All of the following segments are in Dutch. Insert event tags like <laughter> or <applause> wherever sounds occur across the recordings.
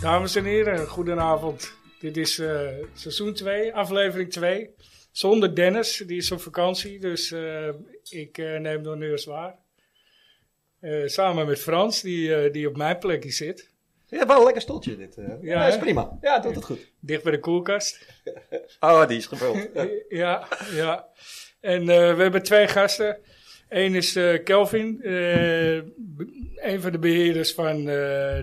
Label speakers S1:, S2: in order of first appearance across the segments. S1: Dames en heren, goedenavond. Dit is eh, seizoen 2, aflevering 2. Zonder Dennis, die is op vakantie, dus eh, ik eh, neem de honneurs waar. Eh, samen met Frans, die, eh, die op mijn plekje zit,
S2: Ja, wel een lekker stoeltje dit. eh.
S1: Ja,
S2: ja, is
S1: hè?
S2: prima. Ja, doet het goed.
S1: dicht bij de koelkast.
S2: Oh, die is
S1: <laughs>
S2: gevuld.
S1: Eh, ja, ja. En eh, we hebben twee gasten. Eén is eh, Kelvin, eh, be- een van de beheerders van eh,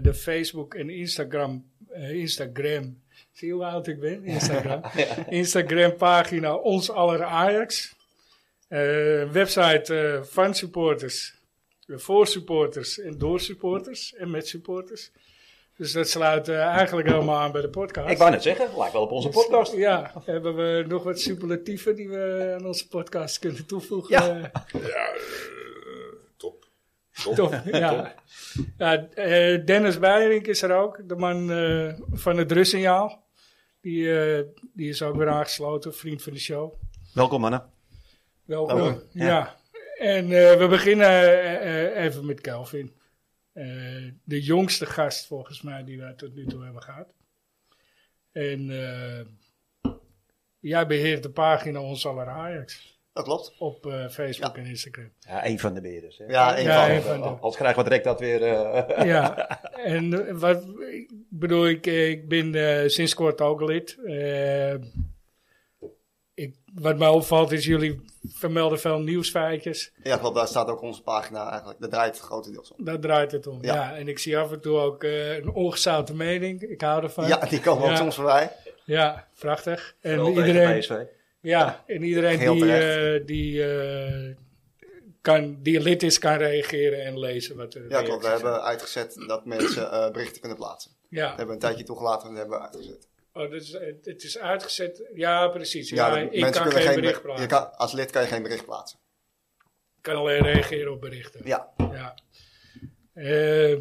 S1: de Facebook en Instagram. eh, Instagram. Zie je hoe oud ik ben? Instagram.
S2: <laughs>
S1: Instagram pagina Ons Aller Ajax. Eh, website eh, van supporters, eh, voor supporters en door supporters en met supporters. Dus dat sluit eh, eigenlijk helemaal aan bij de podcast.
S2: Ik wou net zeggen, lijkt wel op onze podcast.
S1: Ja, hebben we nog wat superlatieven die we aan onze podcast kunnen toevoegen?
S2: Ja.
S1: Eh,
S3: Ja, eh, top. Top.
S1: Top, ja. ja eh, Dennis Beierink is er ook, de man eh, van het Russignaal. Die, eh, die is ook weer aangesloten, vriend van de show.
S4: Welkom mannen.
S1: Welkom.
S2: Welkom,
S1: ja.
S4: ja.
S1: En eh, we beginnen eh, eh, even met Kelvin. Eh, de jongste gast volgens mij die wij tot nu toe hebben gehad. En eh, jij beheert de pagina Ons Aller Ajax
S5: Dat klopt.
S1: op eh, Facebook en Instagram.
S2: Ja, één van de beheerders. hè.
S5: Ja, één
S1: Ja,
S5: van.
S1: één van de-
S2: Als krijgen we direct dat weer... eh,
S1: ja, en eh, wat ik bedoel, ik, eh, ik ben eh, sinds kort ook lid. Eh, ik, wat mij opvalt is, jullie vermelden veel nieuwsfeitjes.
S5: Ja, klopt. Daar staat ook onze pagina eigenlijk. Daar draait het grotendeels om.
S1: Daar draait het om. Ja.
S5: Ja.
S1: en ik zie af en toe ook eh, een ongezouten mening. Ik hou ervan.
S5: Ja,
S1: Ja,
S5: die komen
S1: Ja.
S5: ook soms voorbij.
S1: prachtig. En
S2: wel tegen
S1: iedereen,
S2: PSV.
S1: ja, en iedereen
S5: Geheel
S1: die,
S5: terecht.
S1: eh, die, eh, kan, die lid is, kan reageren en lezen wat er
S5: Ja, klopt. We hebben uitgezet dat mensen eh, berichten kunnen plaatsen.
S1: Ja,
S5: Dat hebben we een tijdje toegelaten en dat hebben we uitgezet.
S1: oh, dus, het, het is uitgezet. Ja, precies.
S5: Ja,
S1: Ja,
S5: dat-
S1: ik kan geen bericht
S5: ber-
S1: plaatsen.
S5: je
S1: Ik
S5: kan, Als lid kan je geen bericht plaatsen.
S1: kan alleen reageren op berichten.
S5: Ja,
S1: Ja. Eh,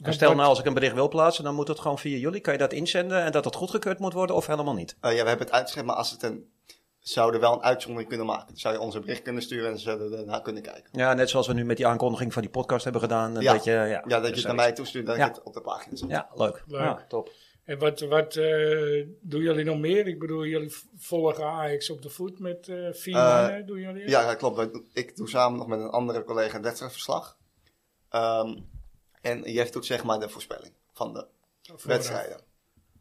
S2: En stel nou, als ik een bericht wil plaatsen, dan moet het gewoon via jullie. Kan je dat inzenden en dat het goedgekeurd moet worden of helemaal niet?
S5: Eh, ja we hebben het uitgezet, maar als het een... Zouden wel een uitzondering kunnen maken. Dan zou je ons een bericht kunnen sturen en zouden we daarna kunnen kijken.
S2: Ja, net zoals we nu met die aankondiging van die podcast hebben gedaan. eh,
S5: Ja.
S2: Dat je, ja,
S5: Ja, dat je
S2: dus,
S5: het naar mij toestuurt en dat
S2: Ja.
S5: je het op de pagina zet.
S2: Ja, leuk.
S1: Leuk.
S2: Ja, top.
S1: En wat, wat eh, doen jullie nog meer? Ik bedoel, jullie v- volgen Ajax op de voet met eh, vier
S5: Eh,
S1: mannen, doen jullie?
S5: Ja, ja, klopt. Wij doen- Ik doe samen nog met een andere collega het wedstrijdverslag. Ehm, en Jeff doet zeg maar de voorspelling van de
S1: Oh, Vooraf.
S5: wedstrijden.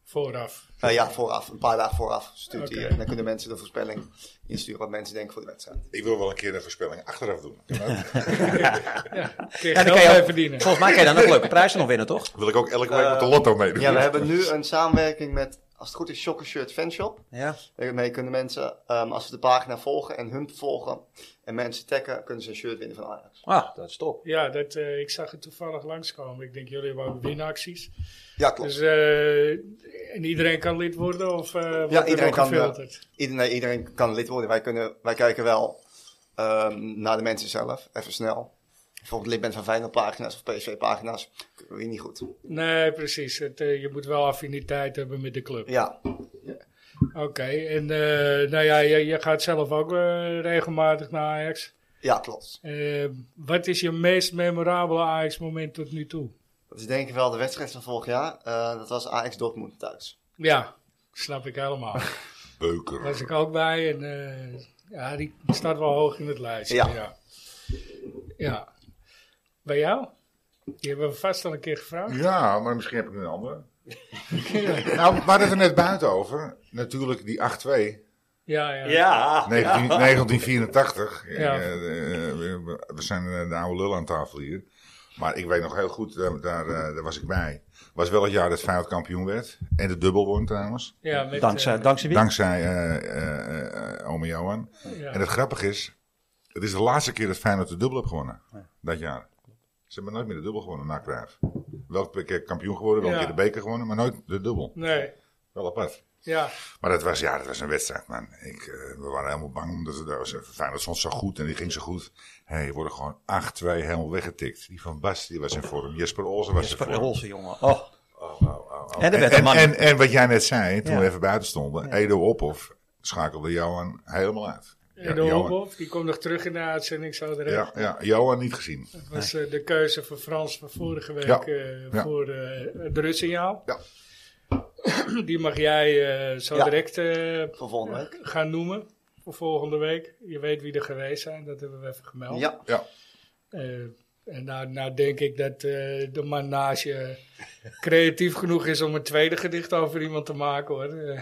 S1: Vooraf.
S5: Nou ja, vooraf. Een paar dagen vooraf stuurt
S1: Oké.
S5: hij. En dan kunnen mensen de voorspelling insturen wat mensen denken voor de wedstrijd.
S3: Ik wil wel een keer een voorspelling achteraf <laughs> doen. Kan dat?
S1: Kun je geld
S2: En dan kan je
S1: mee
S2: ook-
S1: verdienen.
S2: Volgens mij kan je dan ook leuke prijzen nog winnen, toch?
S3: wil ik ook elke week met de lotto meedoen.
S5: Ja, we hebben nu een samenwerking met, als het goed is, Shocker Shirt Fanshop.
S2: Ja.
S5: Daarmee kunnen mensen, ehm, als ze de pagina volgen en hun volgen en mensen taggen, kunnen ze een shirt winnen van Ajax.
S2: Ah, dat is top.
S1: Ja, dat, eh, ik zag het toevallig langskomen. Ik denk, jullie hebben ook winacties.
S5: Ja, klopt.
S1: Dus, eh, en iedereen kan lid worden of eh wordt
S5: Ja,
S1: er
S5: iedereen
S1: nog
S5: kan,
S1: gefilterd?
S5: Ieder- nee, iedereen kan lid worden. Wij, kunnen, wij kijken wel ehm, naar de mensen zelf, even snel. Bijvoorbeeld lid bent van Feyenoord pagina's of PSV pagina's, kunnen we hier niet goed.
S1: Nee, precies. Het, eh, je moet wel affiniteit hebben met de club.
S5: Ja,
S1: Oké, en eh, nou ja, je, je gaat zelf ook eh, regelmatig naar Ajax.
S5: ja klopt.
S1: Eh, wat is je meest memorabele Ajax-moment tot nu toe?
S5: Dat is denk Dus ik wel de wedstrijd van vorig jaar. Eh, dat was Ajax Dortmund thuis.
S1: Ja, snap ik helemaal. <laughs>
S3: Beuker.
S1: was ik ook bij. En eh, ja, die staat wel hoog in het lijstje. Ja.
S5: Ja.
S1: ja. Bij jou? Die hebben we vast al een keer gevraagd.
S3: Ja, maar misschien heb ik nu een andere. <laughs> nou, we hadden het er net buiten over. Natuurlijk die 8-2.
S1: Ja, ja.
S2: Ja.
S3: 19- 1984.
S1: Ja.
S3: Eh, eh, we- we zijn eh, de oude lul aan tafel hier. Maar ik weet nog heel goed, eh, daar, eh, daar was ik bij. was wel het jaar dat Feyenoord kampioen werd. En de dubbel won trouwens.
S1: Ja, met,
S2: Dankzij,
S1: eh,
S2: dankzij wie?
S3: Dankzij eh eh, eh, eh, ome Johan.
S1: ja.
S3: En het grappige is, het is de laatste keer dat Feyenoord de dubbel heeft gewonnen. Dat jaar. Ze hebben nooit meer de dubbel gewonnen na Cruijff. Wel een keer kampioen geworden, wel een
S1: Ja.
S3: keer de beker gewonnen, maar nooit de dubbel.
S1: Nee,
S3: Wel apart.
S1: ja.
S3: Maar dat was, ja, dat was een wedstrijd, man. Ik, eh, we waren helemaal bang, omdat het, was, Eh, Feyenoord stond zo goed en die ging zo goed. Hé, hey, worden gewoon 8-2 helemaal weggetikt. Die van Bas, die was in vorm. Jesper Olsen was in
S2: Jesper
S3: vorm.
S2: Olsen, jongen. Oh.
S3: Oh, oh, oh, oh.
S2: En er werd een
S3: en,
S2: man.
S3: en, en wat jij net zei, toen
S2: Ja.
S3: we even buiten stonden. Edo Ophof schakelde Johan helemaal uit. Ja,
S1: En de
S3: Johan-
S1: Hobboff, die komt nog terug in de uitzending zo direct.
S3: Ja, ja, Johan niet gezien.
S1: Dat was eh, de keuze voor Frans van vorige week
S3: Ja.
S1: eh,
S3: Ja.
S1: voor eh, het rustsignaal.
S3: Ja.
S1: <coughs> Die mag jij eh, zo
S5: Ja.
S1: direct eh,
S5: Voor volgende week.
S1: gaan noemen voor volgende week. Je weet wie er geweest zijn, dat hebben we even gemeld.
S5: Ja,
S3: Ja,
S1: Eh, en nou, nou denk ik dat eh, de man naast je creatief genoeg is om een tweede gedicht over iemand te maken hoor. Eh,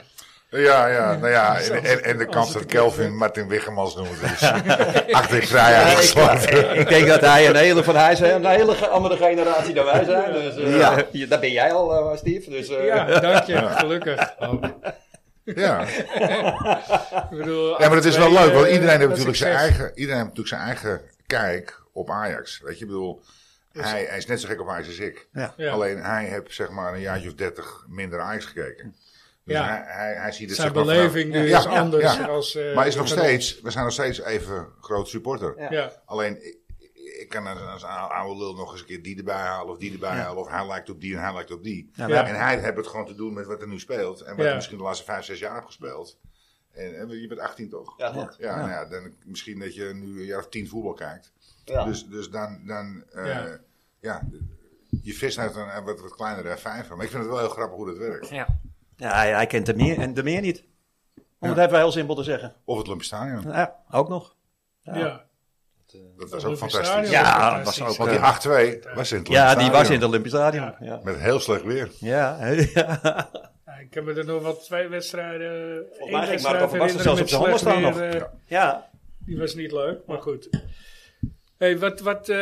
S3: ja, ja, nou ja. En, en, en de
S1: Als
S3: kans
S1: het
S3: dat
S1: een
S3: Kelvin Martin Wiggemans noemt. Dus <laughs> achter ik vrij uitgesloten.
S2: Eh, Ik denk dat hij een hele, van hij zijn, een hele ge- andere generatie dan wij zijn. Dus, eh,
S5: Ja.
S2: je- daar ben jij al, eh, Steve. Dus, eh,
S1: ja, Oh. dank je, gelukkig. ook.
S3: Ja.
S1: Ik bedoel,
S3: Ja, maar dat is wel
S1: alle twee,
S3: leuk, want
S1: eh,
S3: iedereen heeft,
S1: dat
S3: natuurlijk zijn
S1: succes.
S3: eigen, iedereen heeft natuurlijk zijn eigen kijk op Ajax. Weet je, ik bedoel, hij, hij is net zo gek op Ajax als ik.
S1: Ja.
S3: Alleen hij heeft zeg maar een jaartje of dertig minder Ajax gekeken. Dus
S1: Ja.
S3: hij, hij, hij ziet het
S1: Zijn
S3: zeg maar
S1: beleving
S3: vanuit-
S1: nu
S3: Ja,
S1: is
S3: ja,
S1: anders.
S3: ja.
S1: Als, eh,
S3: maar is nog
S1: voor
S3: steeds, we zijn nog steeds even groot supporter.
S1: ons. Ja.
S3: Alleen, ik, ik kan als, als oude lul nog eens een keer die erbij halen of die erbij halen. Of hij lijkt op die en hij lijkt op die.
S1: Ja.
S3: En hij heeft het gewoon te doen met wat er nu speelt. En wat
S1: Ja.
S3: er misschien de laatste vijf, zes jaar heeft gespeeld. En, en je bent 18 toch?
S5: ja, klopt.
S3: Ja, nou ja, dan, misschien dat je nu een jaar of tien voetbal kijkt.
S5: Ja.
S3: Dus, dus dan, dan eh,
S1: Ja.
S3: ja. je vis uit een een wat, wat kleinere F5. Maar ik vind het wel heel grappig hoe dat werkt.
S2: Ja. Ja, hij, hij kent de meer en de meer niet. Om het even heel simpel te zeggen.
S3: Of het Olympisch Stadion.
S2: Ja, ook nog.
S1: Ja. Ja.
S3: Dat was ook
S1: Olympisch
S3: fantastisch.
S1: Stadion.
S2: Ja,
S1: dat
S2: dat was
S1: precies.
S2: ook...
S3: Want die
S2: eh,
S3: 8-2 was in het
S2: ja, die
S3: Olympisch
S2: was in
S3: Stadion.
S2: het Olympisch Stadion. Ja.
S3: Met heel slecht weer.
S2: Ja. ja.
S1: Ja, ik heb me er nog wel twee wedstrijden. één
S2: mij
S1: wedstrijd
S2: ging Marco van
S1: herinneren
S2: Basten zelfs
S1: met
S2: op zijn
S1: slecht
S2: handen staan
S1: weer,
S2: nog.
S1: eh,
S2: ja.
S1: Die was niet leuk, maar goed. hey, wat. wat eh,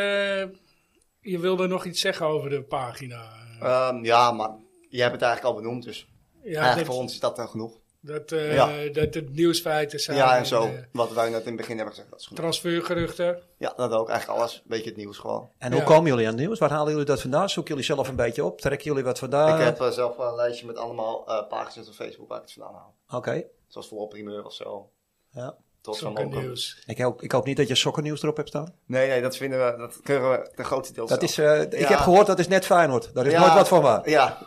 S1: je wilde nog iets zeggen over de pagina.
S5: Ehm, ja, maar jij hebt het eigenlijk al benoemd, dus
S1: Ja,
S5: eigenlijk
S1: dat,
S5: voor ons is dat dan genoeg.
S1: dat, eh,
S5: Ja.
S1: dat het nieuwsfeiten zijn.
S5: Ja, en zo.
S1: eh,
S5: Wat wij net in het begin hebben gezegd, dat is genoeg.
S1: transfergeruchten.
S5: Ja, dat ook. Eigenlijk alles. Een beetje het nieuws gewoon.
S2: En hoe
S1: Ja.
S2: komen jullie aan het nieuws? Waar halen jullie dat vandaan? Zoeken jullie zelf een beetje op? Trekken jullie wat vandaan?
S5: Ik heb eh, zelf wel een lijstje met allemaal eh, pagina's op Facebook waar ik het vandaan haal.
S2: Oké.
S5: Zoals voor primeur of zo.
S2: Ja.
S5: Tot van
S1: Sokken
S5: Mokum.
S1: nieuws.
S2: Ik, hoop, ik hoop niet dat je sokkennieuws erop hebt staan.
S5: Nee, nee, dat vinden we, dat keuren we ten grootste deel
S2: Dat
S5: zelf.
S2: is, eh, Ik heb gehoord dat is net Feyenoord. Daar is nooit wat van waar.
S5: Ja,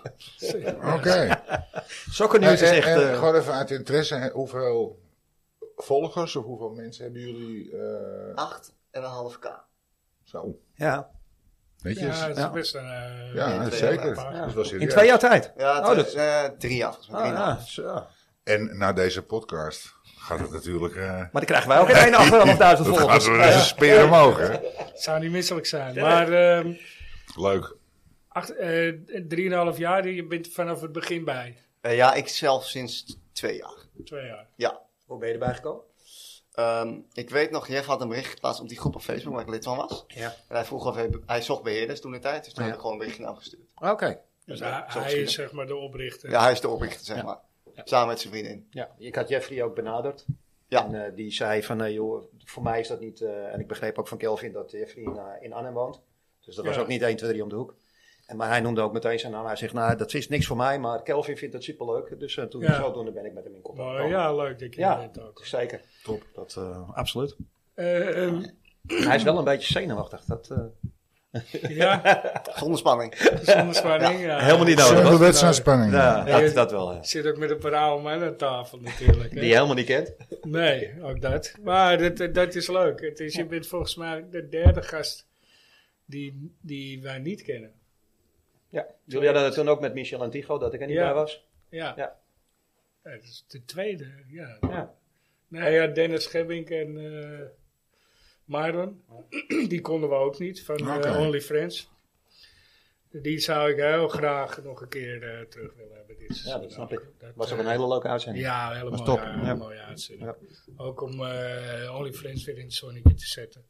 S3: Oké.
S2: Sokkennieuws is
S3: En- en-
S2: echt...
S3: en
S2: eh,
S3: Gewoon even uit interesse. hè, Hoeveel volgers of hoeveel mensen hebben jullie... eh,
S5: 8,5k.
S3: zo,
S2: ja.
S3: netjes.
S1: Ja,
S3: Ja,
S1: dat is
S2: Ja.
S1: best een. eh,
S5: in twee
S3: zeker.
S1: jaar.
S3: Dat is wel serieus.
S2: In twee jaar tijd?
S5: Ja,
S2: Oh, dat-
S5: het, eh, drie jaar volgens mij.
S2: Ah,
S5: Drieënhalf.
S2: ja, zo.
S3: En na deze podcast gaat het
S2: <laughs>
S3: natuurlijk... eh
S2: Maar dan krijgen wij ook geen
S1: nou,
S2: 8.500
S3: <laughs> dat gaat
S2: volgers.
S3: er een speer omhoog, hè?
S1: zou niet misselijk zijn. Maar ehm
S3: Leuk.
S1: acht, eh, drieënhalf jaar, je bent er vanaf het begin bij.
S5: Eh, ja, ik zelf sinds t- twee jaar.
S1: Twee jaar.
S5: Ja.
S2: Hoe ben je erbij gekomen?
S5: Ehm, ik weet nog, Jeff had een bericht geplaatst op die groep op Facebook waar ik lid van was.
S2: Ja.
S5: En hij vroeg of hij, hij zocht beheerders toen de tijd. Dus toen
S2: Ja.
S5: heb ik gewoon een berichtje naar hem gestuurd.
S2: Oké.
S1: Dus
S5: Ja,
S1: hij,
S5: zo
S1: hij
S5: misschien.
S1: is zeg maar de oprichter.
S5: Ja, hij is de oprichter, zeg
S2: Ja.
S5: maar. Samen met zijn vriendin.
S2: Ja, ik had Jeffrey ook benaderd.
S5: Ja.
S2: En eh, die zei van, eh, joh, voor mij is dat niet... eh, en ik begreep ook van Kelvin dat Jeffrey in, eh, in Arnhem woont. Dus dat was
S1: Ja.
S2: ook niet 1, 2, 3 om de hoek. En, maar hij noemde ook meteen zijn naam. Hij zegt, nou, dat is niks voor mij, maar Kelvin vindt dat superleuk. Dus eh, toen
S1: Ja.
S2: zodoende ben ik met hem in contact
S1: Mooi,
S2: gekomen.
S1: ja, leuk dat je
S2: Ja.
S1: er bent ook.
S2: zeker. Top. Dat, eh, absoluut.
S1: Eh, ehm,
S2: Hij is wel een beetje zenuwachtig. Dat, eh,
S1: ja,
S5: Zonder spanning.
S2: <laughs>
S1: zonder spanning. Ja.
S2: Helemaal niet nodig.
S3: Zonder
S2: hoor.
S3: wedstrijdspanning.
S2: Ja,
S1: Nee,
S2: dat, dat wel. ja.
S1: Ik zit ook met een paar oude mannen aan tafel natuurlijk. hè.
S2: Die je helemaal niet kent.
S1: Nee, ook dat. Maar dat, dat is leuk. Het is, je bent volgens mij de derde gast die, die wij niet kennen.
S2: Ja. Jullie hadden het toen ook met Michel Antigo, dat ik er niet
S1: Ja.
S2: bij was.
S1: Ja.
S2: Ja.
S1: Ja, dat is de tweede, ja.
S2: Ja.
S1: Nee, ja, Dennis Gebbink en eh Marlon. <clears throat> Die konden we ook niet van eh,
S3: Oké.
S1: Only Friends. Die zou ik heel graag nog een keer eh, terug willen hebben. Dit
S2: Ja, dat
S1: seizoen
S2: snap
S1: ook.
S2: ik.
S1: Dat,
S2: Was ook
S1: eh,
S2: een hele leuke uitzending.
S1: Ja, helemaal
S2: Was top,
S1: ja,
S2: ja.
S1: mooie uitzending. Ook om eh Only Friends weer in het zonnetje te zetten.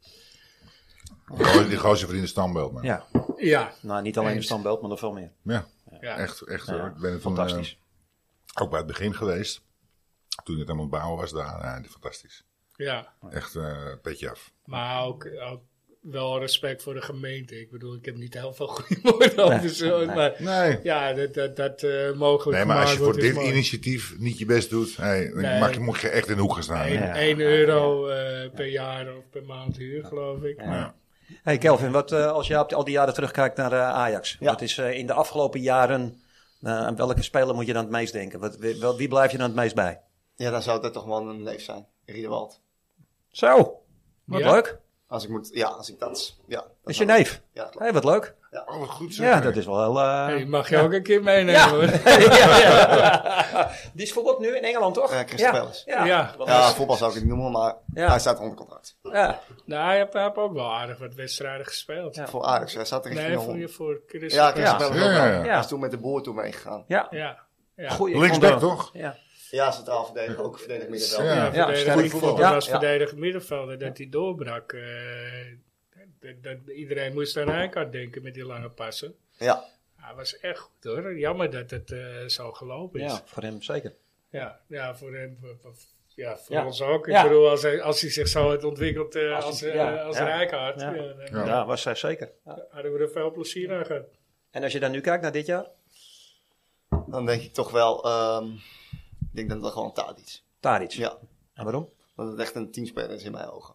S3: Die gozer- Die gozer vrienden standbeeld, man. Ja,
S2: Ja.
S1: Ja,
S2: Nou, niet alleen de
S1: Eens.
S2: standbeeld, maar nog veel meer.
S1: ja.
S3: echt, echt.
S2: Ja,
S3: hoor. Ik ben er toen,
S2: Fantastisch.
S3: eh, ook bij het begin geweest. Toen het aan het bouwen was daar. Ja, fantastisch.
S1: ja.
S3: Echt eh petje af.
S1: Maar ook, ook wel respect voor de gemeente. Ik bedoel, ik heb niet heel veel goede <laughs> woorden over zo. Maar
S3: Nee.
S1: ja, dat, dat, dat eh, mogelijk
S3: Nee, maar als je voor
S1: gemaakt wordt,
S3: dit
S1: is mooi.
S3: initiatief niet je best doet, hey, dan
S1: Nee.
S3: mag je, moet je echt in de hoek gaan staan. hè?
S1: Eén-
S2: Ja.
S1: één euro eh, per jaar of per maand huur, geloof ik.
S3: Ja.
S2: Hey Kelvin, wat, eh, als je op al die jaren terugkijkt naar eh, Ajax.
S5: Ja.
S2: Wat is eh, in de afgelopen jaren, eh, aan welke speler moet je dan het meest denken? Wat, wie, wel- wie blijf je dan het meest bij?
S5: Ja, dan zou dat toch wel een neef zijn. Riedewald.
S2: Zo, wat
S1: Ja.
S2: leuk.
S5: Hè? Als ik moet, ja, als ik dat, ja. Dat
S2: Dat is je
S5: nou-
S2: neef.
S5: Ja, klopt.
S2: Hé, wat leuk.
S3: Oh, wat goed zeg.
S2: Ja,
S3: hè.
S2: dat is wel heel... eh,
S1: Hey, mag je ook een keer meenemen
S2: Ja.
S1: hoor. <laughs>
S2: <laughs> ja, ja. <laughs> Die is voorop nu in Engeland, toch?
S5: Ja, Crystal
S2: ja.
S5: Palace.
S2: Ja.
S1: Ja.
S2: Wat
S5: Ja,
S2: is-
S5: voetbal zou ik het niet noemen, maar
S2: Ja.
S5: hij staat onder contract.
S2: ja.
S1: Nou, hij heeft, hij heeft ook wel aardig wat wedstrijden gespeeld.
S2: Ja.
S5: Voor Ajax, hij staat er richting
S1: Nee,
S5: de
S1: voor,
S5: hond.
S1: voor Chris.
S5: Ja, Chris
S2: Ja.
S5: Palace ook
S3: Ja, ja,
S5: wel.
S3: ja.
S5: Hij is toen met de boer toen meegegaan.
S2: ja.
S1: Ja. ja.
S2: Goeie
S3: Linksback,
S2: condo.
S3: toch?
S2: Ja.
S5: Ja, centraal verdediger, ook verdedigd middenveld.
S3: Ja.
S1: Ja,
S2: sterk
S1: verdediger. ik
S3: voetbal.
S1: vond hem
S2: Ja,
S1: als
S2: ja.
S1: verdediger middenvelder dat hij doorbrak. eh, dat, dat iedereen moest aan Rijkaard denken met die lange passen.
S5: Ja,
S1: Hij was echt goed hoor. Jammer dat het eh, zo gelopen is.
S2: ja,
S1: Ja,
S2: voor hem zeker.
S1: ja, voor hem. voor- voor- ja, voor
S2: Ja.
S1: ons ook. Ik
S2: Ja.
S1: bedoel, als hij, als hij zich zo had ontwikkeld eh,
S2: Als
S1: als,
S2: hij-
S1: eh,
S2: ja,
S1: als
S2: ja.
S1: Rijkaard,
S2: Ja.
S1: ja, dan
S3: Ja.
S2: Ja, was zij zeker. Ja.
S1: hadden we er veel plezier aan gehad.
S2: En als je dan nu kijkt naar dit jaar,
S5: dan denk ik toch wel, ehm, ik denk dat het gewoon Tadic.
S2: Tadic.
S5: Ja,
S2: En waarom?
S5: dat het echt een teamspeler is in mijn ogen.